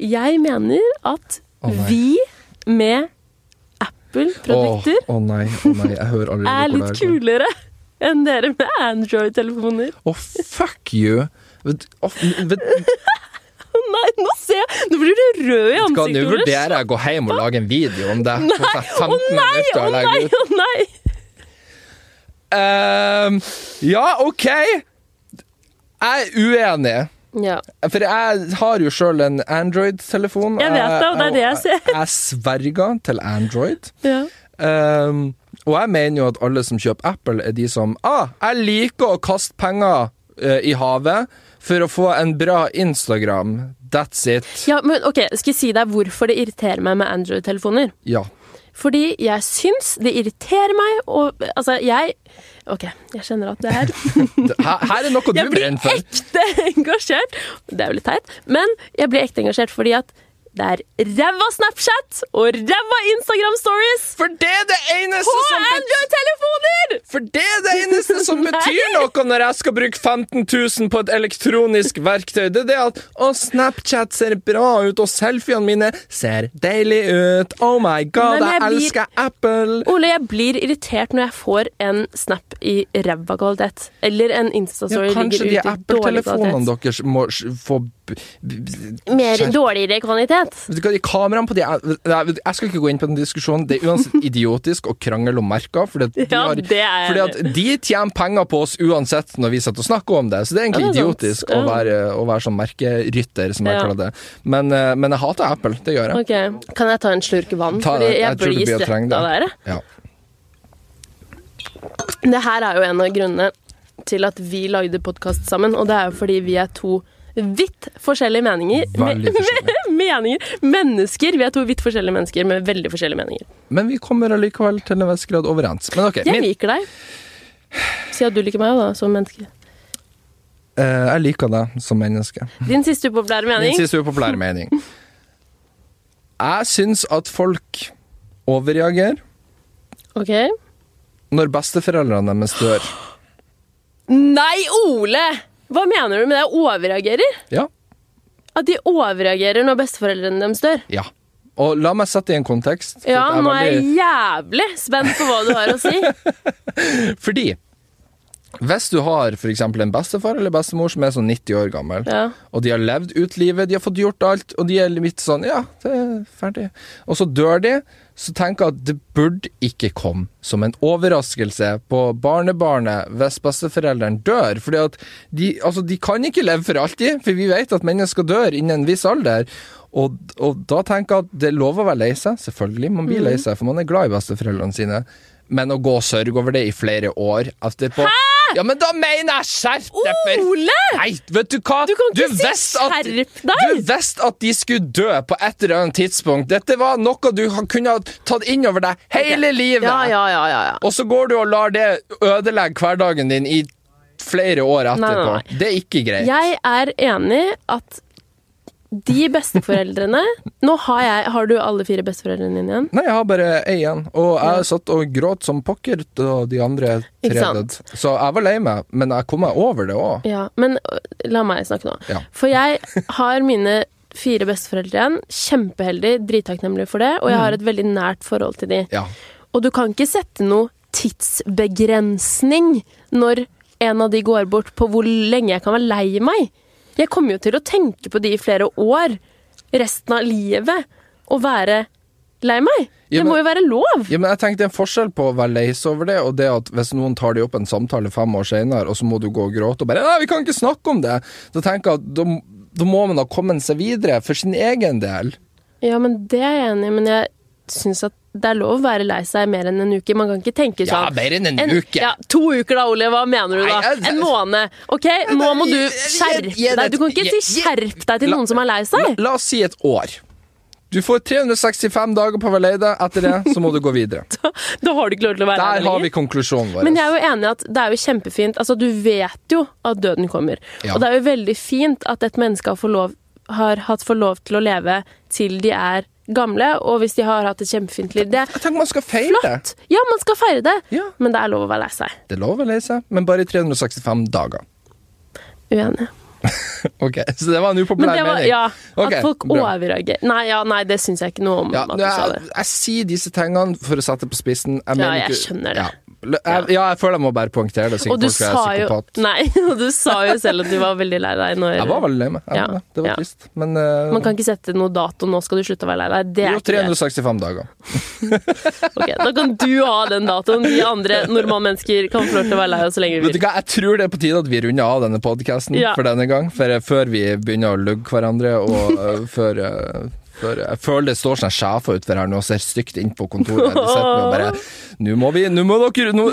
Jeg mener at
Å, nei.
vi med Apple-produkter
Å nei, å nei, jeg hører allerede
(laughs) er
hvor det
litt
her går.
kulere enn dere med Android-telefoner.
Å, fuck you! Vet, å,
(laughs)
vet,
Nei, nå ser jeg! Nå blir du rød i
skal
ansiktet.
nå
Ole.
vurderer jeg å gå hjem og lage en video om det.
Nei, å nei, å nei, å nei!
Um, ja, OK! Jeg er uenig.
Ja.
For jeg har jo sjøl en Android-telefon.
Jeg vet det, og det er det jeg ser.
Jeg sverger til Android.
ja.
Ehm, og jeg mener jo at alle som kjøper Apple, er de som Ah, jeg liker å kaste penger eh, i havet for å få en bra Instagram. That's it.
ja, men ok, Skal jeg si deg hvorfor det irriterer meg med Android-telefoner?
Ja.
Fordi jeg syns det irriterer meg og Altså, jeg OK, jeg kjenner at det er
Det- Her, her er noe du
Jeg blir
brenner for.
ekte engasjert. Det er jo litt teit, men jeg blir ekte engasjert fordi at det er ræva Snapchat og ræva Instagram Stories
For det er det eneste
på
som
Android-telefoner!
For det er det eneste
(laughs)
som
Nei.
betyr noe når jeg skal bruke 15 000 på et elektronisk verktøy. Det er det at Å, Snapchat ser bra ut, og selfiene mine ser deilig ut. Oh my
Nei,
god,
men
jeg
jeg
elsker Apple.
Ole, jeg blir irritert når jeg får en snap i ræva kvalitet. Eller en
Ja,
Insta-story
kanskje
ligger ute i
de
dårlig
Apple-telefonene
kvalitet.
deres må s- få b- b- b-
Mer
skjerp-
dårligere kvalitet.
Vet du hva, de Kameraene på de Nei, Jeg skal ikke gå inn på den diskusjonen. Det
(laughs)
er uansett idiotisk å krangle om merker. Fordi at de,
Ja,
har,
det er jeg
fordi at de tjener penger på oss uansett når vi sitter og snakker om det. Så det er egentlig
Ja, det er sant.
idiotisk å,
Ja.
være, å være sånn merkerytter, som jeg
Ja.
kaller det. Men, eh, men jeg hater Apple. Det gjør jeg.
Ok, Kan jeg ta en slurk vann?
Ta
Fordi
det.
jeg,
Jeg tror du
blir
blir å trenge
svett av det her.
Ja.
Det her er jo en av grunnene til at vi lagde podkast sammen, og det er jo fordi vi er to vidt forskjellige meninger. (laughs)
Veldig forskjellige.
meninger. Mennesker. Vi er to vidt forskjellige mennesker med veldig forskjellige meninger.
Men vi kommer allikevel til en viss grad overens. Men ok,
Jeg
min,
liker deg. Si at du liker meg, da, som menneske.
eh, jeg liker deg som menneske.
Din siste upopulære mening.
Min siste upopulære
(laughs)
mening. Jeg syns at folk overreagerer
Ok.
når besteforeldrene deres dør.
Nei, Ole! Hva mener du med det? Overreagerer?
Ja.
At de overreagerer når besteforeldrene deres dør?
Ja. Og la meg sette i en kontekst. for
Ja,
at jeg er
nå er
veldig-
jeg jævlig spent på hva du har å si.
Fordi hvis du har f.eks. en bestefar eller bestemor som er sånn 90 år gammel,
Ja.
og de har levd ut livet, de har fått gjort alt, og de er litt sånn Ja, det er ferdig. Og så dør de, så tenker jeg at det burde ikke komme som en overraskelse på barnebarnet hvis besteforelderen dør. Fordi at de, altså, de kan ikke leve for alltid, for vi vet at mennesker dør innen en viss alder. Og, og da tenker jeg at det er lov å være lei seg, selvfølgelig. Man blir
Mhm.
lei seg, for man er glad i besteforeldrene sine. Men å gå og sørge over det i flere år etterpå Ja, men da mener jeg skjerp deg, for
Ole!
Nei, vet du hva?
Du kan ikke si
visste at-
skjerp deg!
Du visste at de skulle dø på et eller annet tidspunkt. Dette var noe du ha- kunne ha tatt inn over deg hele
(laughs)
livet.
Ja, ja, ja, ja, ja.
Og så går du og lar det ødelegge hverdagen din i flere år etterpå.
Nei, nei,
Det er ikke greit.
Jeg er enig at de besteforeldrene Nå har jeg Har du alle fire besteforeldrene dine igjen?
Nei, jeg har bare ei igjen, og jeg satt og gråt som pokker da de andre tre
Ikke sant?
døde. Så jeg var lei meg, men jeg kom meg over det òg.
Ja, men ø, la meg snakke nå.
Ja.
For jeg har mine fire besteforeldre igjen. Kjempeheldig, drittakknemlig for det. Og jeg har et veldig nært forhold til de.
Mm. Ja.
Og du kan ikke sette noe tidsbegrensning når en av de går bort, på hvor lenge jeg kan være lei meg. Jeg kommer jo til å tenke på de i flere år, resten av livet, og være lei meg.
Ja,
Det
men-
må jo være lov!
Ja, men jeg tenkte Det er en forskjell på å være lei seg over det, og det at hvis noen tar deg opp en samtale fem år senere, og så må du gå og gråte og bare 'Nei, vi kan ikke snakke om det', da tenker jeg at da, da må man ha kommet seg videre for sin egen del.
Ja, men det er jeg enig i, men jeg syns at det er lov å være lei seg mer enn en uke. Man kan ikke tenke
Ja,
sånn.
mer enn en,
En,
uke.
ja, to uker da, Ole. Hva mener du
Nei,
da?
jeg-
En måned. Ok, nå må du
jeg- jeg-
skjerpe
jeg- jeg-
deg. Du kan ikke
jeg-
si
jeg-
'skjerp deg' til
La-
noen som er lei
La,
seg.
la oss si et år. Du får 365 dager på å være lei deg. Etter det så må du
(laughs)
gå videre.
Da har du ikke lov til å være lei
Der
deg
har
lenger.
vi konklusjonen vår.
Men jeg er jo enig i at det er jo kjempefint. Altså, du vet jo at døden kommer.
Ja.
Og det er jo veldig fint at et menneske har, fått lov, har hatt for lov til å leve til de er gamle, og hvis de har hatt et kjempefint liv. Det er
Jeg tenker man skal feire.
flott! Ja, man skal feire det,
Ja.
men det er lov å være lei seg.
Det er lov å lei seg, men bare i 365 dager.
Uenig.
Ok, Så det var en
Men
upopulær
det var,
mening.
ja,
Ok,
at folk
bra.
overreagerer. Nei, ja, nei, det syns jeg ikke noe om.
Ja,
at du sa
jeg,
det.
jeg sier disse tingene for å sette det på spissen. Jeg mener
jeg
ikke-
skjønner det.
Ja. L- Jeg, ja, jeg føler jeg må bare poengtere det. så ikke
Og du,
folk tror
sa
jeg er
jo,
psykopat.
nei, (laughs) og du sa jo selv at du var veldig lei deg. Når,
Jeg var veldig lei meg. Jeg
Ja,
var det. Det var
ja.
trist. Men eh,
Man kan ikke sette noe dato 'nå skal du slutte å være lei deg'. Det er
jo,
ikke greit.
365 dager.
Ok, Da kan du ha den datoen. Vi andre normale mennesker kan få lov til å være lei oss så lenge vi
Vet du
vil.
hva, Jeg tror det er på tide at vi runder av denne podkasten
Ja.
for denne gang. For eh, før vi begynner å lugge
(laughs)
hverandre, og eh, før, eh, før Jeg føler det står sånne sjefer utenfor her nå og ser stygt inn på kontoret. De sitter nå og bare Nå må vi Nå må dere nå,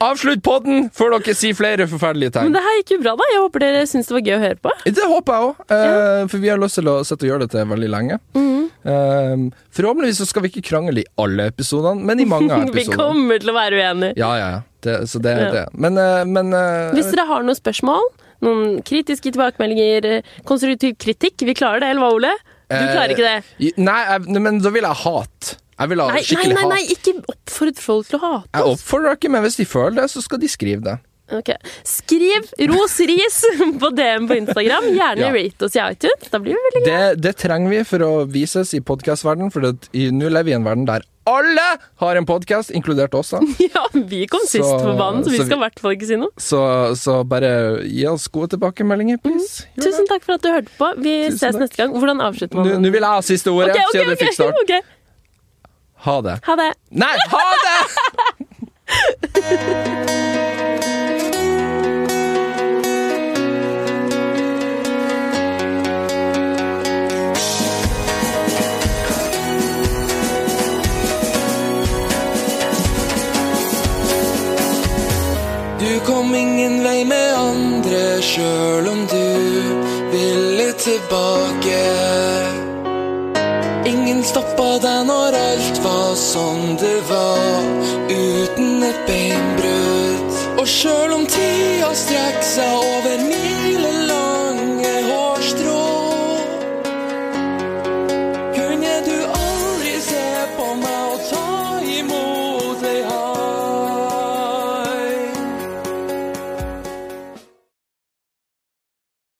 Avslutt podden før dere sier flere forferdelige ting.
Men det her gikk jo bra, da. Jeg håper dere syns det var gøy å høre på.
Det håper jeg òg, for vi har lyst til å sitte og gjøre dette veldig lenge.
Mhm.
Eh, forhåpentligvis så skal vi ikke krangle i alle episodene, men i mange av
(laughs) Vi
episodene.
kommer til å være uenige.
Ja, ja, ja. Det, så det er
Ja.
det. Men, eh, men eh,
Hvis dere har noen spørsmål, noen kritiske tilbakemeldinger, eh, konstruktiv kritikk Vi klarer det, eller hva, Ole? Du
eh,
klarer ikke det.
i- Nei, jeg, men da vil jeg hat. Jeg vil ha
Nei, nei,
skikkelig
nei, nei
hat.
ikke oppfordre folk til å hate.
Jeg oppfordrer ikke, men hvis de føler det, så skal de skrive det.
Ok. Skriv ros ris (laughs) på DM på Instagram. Gjerne
Ja.
rate oss i iTunes. Da blir vi veldig (laughs) glad.
Det, det trenger vi for å vises i podkastverdenen, for det- i- nå lever vi i en verden der alle har en podkast, inkludert
(laughs)
oss. da.
Ja, vi kom sist
Så-
på banen, så vi
så vi-
skal i hvert fall ikke si noe.
Så, så bare gi oss gode tilbakemeldinger, please. Gjør det.
Mhm. Tusen takk for at du hørte på. Vi
Tusen
ses
takk.
neste gang. Hvordan avslutter man?
Nå nå vil jeg ha siste ordet,
Ok, ok,
siden du
ok,
fikk start.
(laughs) ok.
Ha det.
Ha det.
Nei, ha det!
Du kom ingen vei med andre sjøl om du ville tilbake. Ingen stoppa deg når alt var som det var, uten et beinbrudd. Og sjøl om tida strekk seg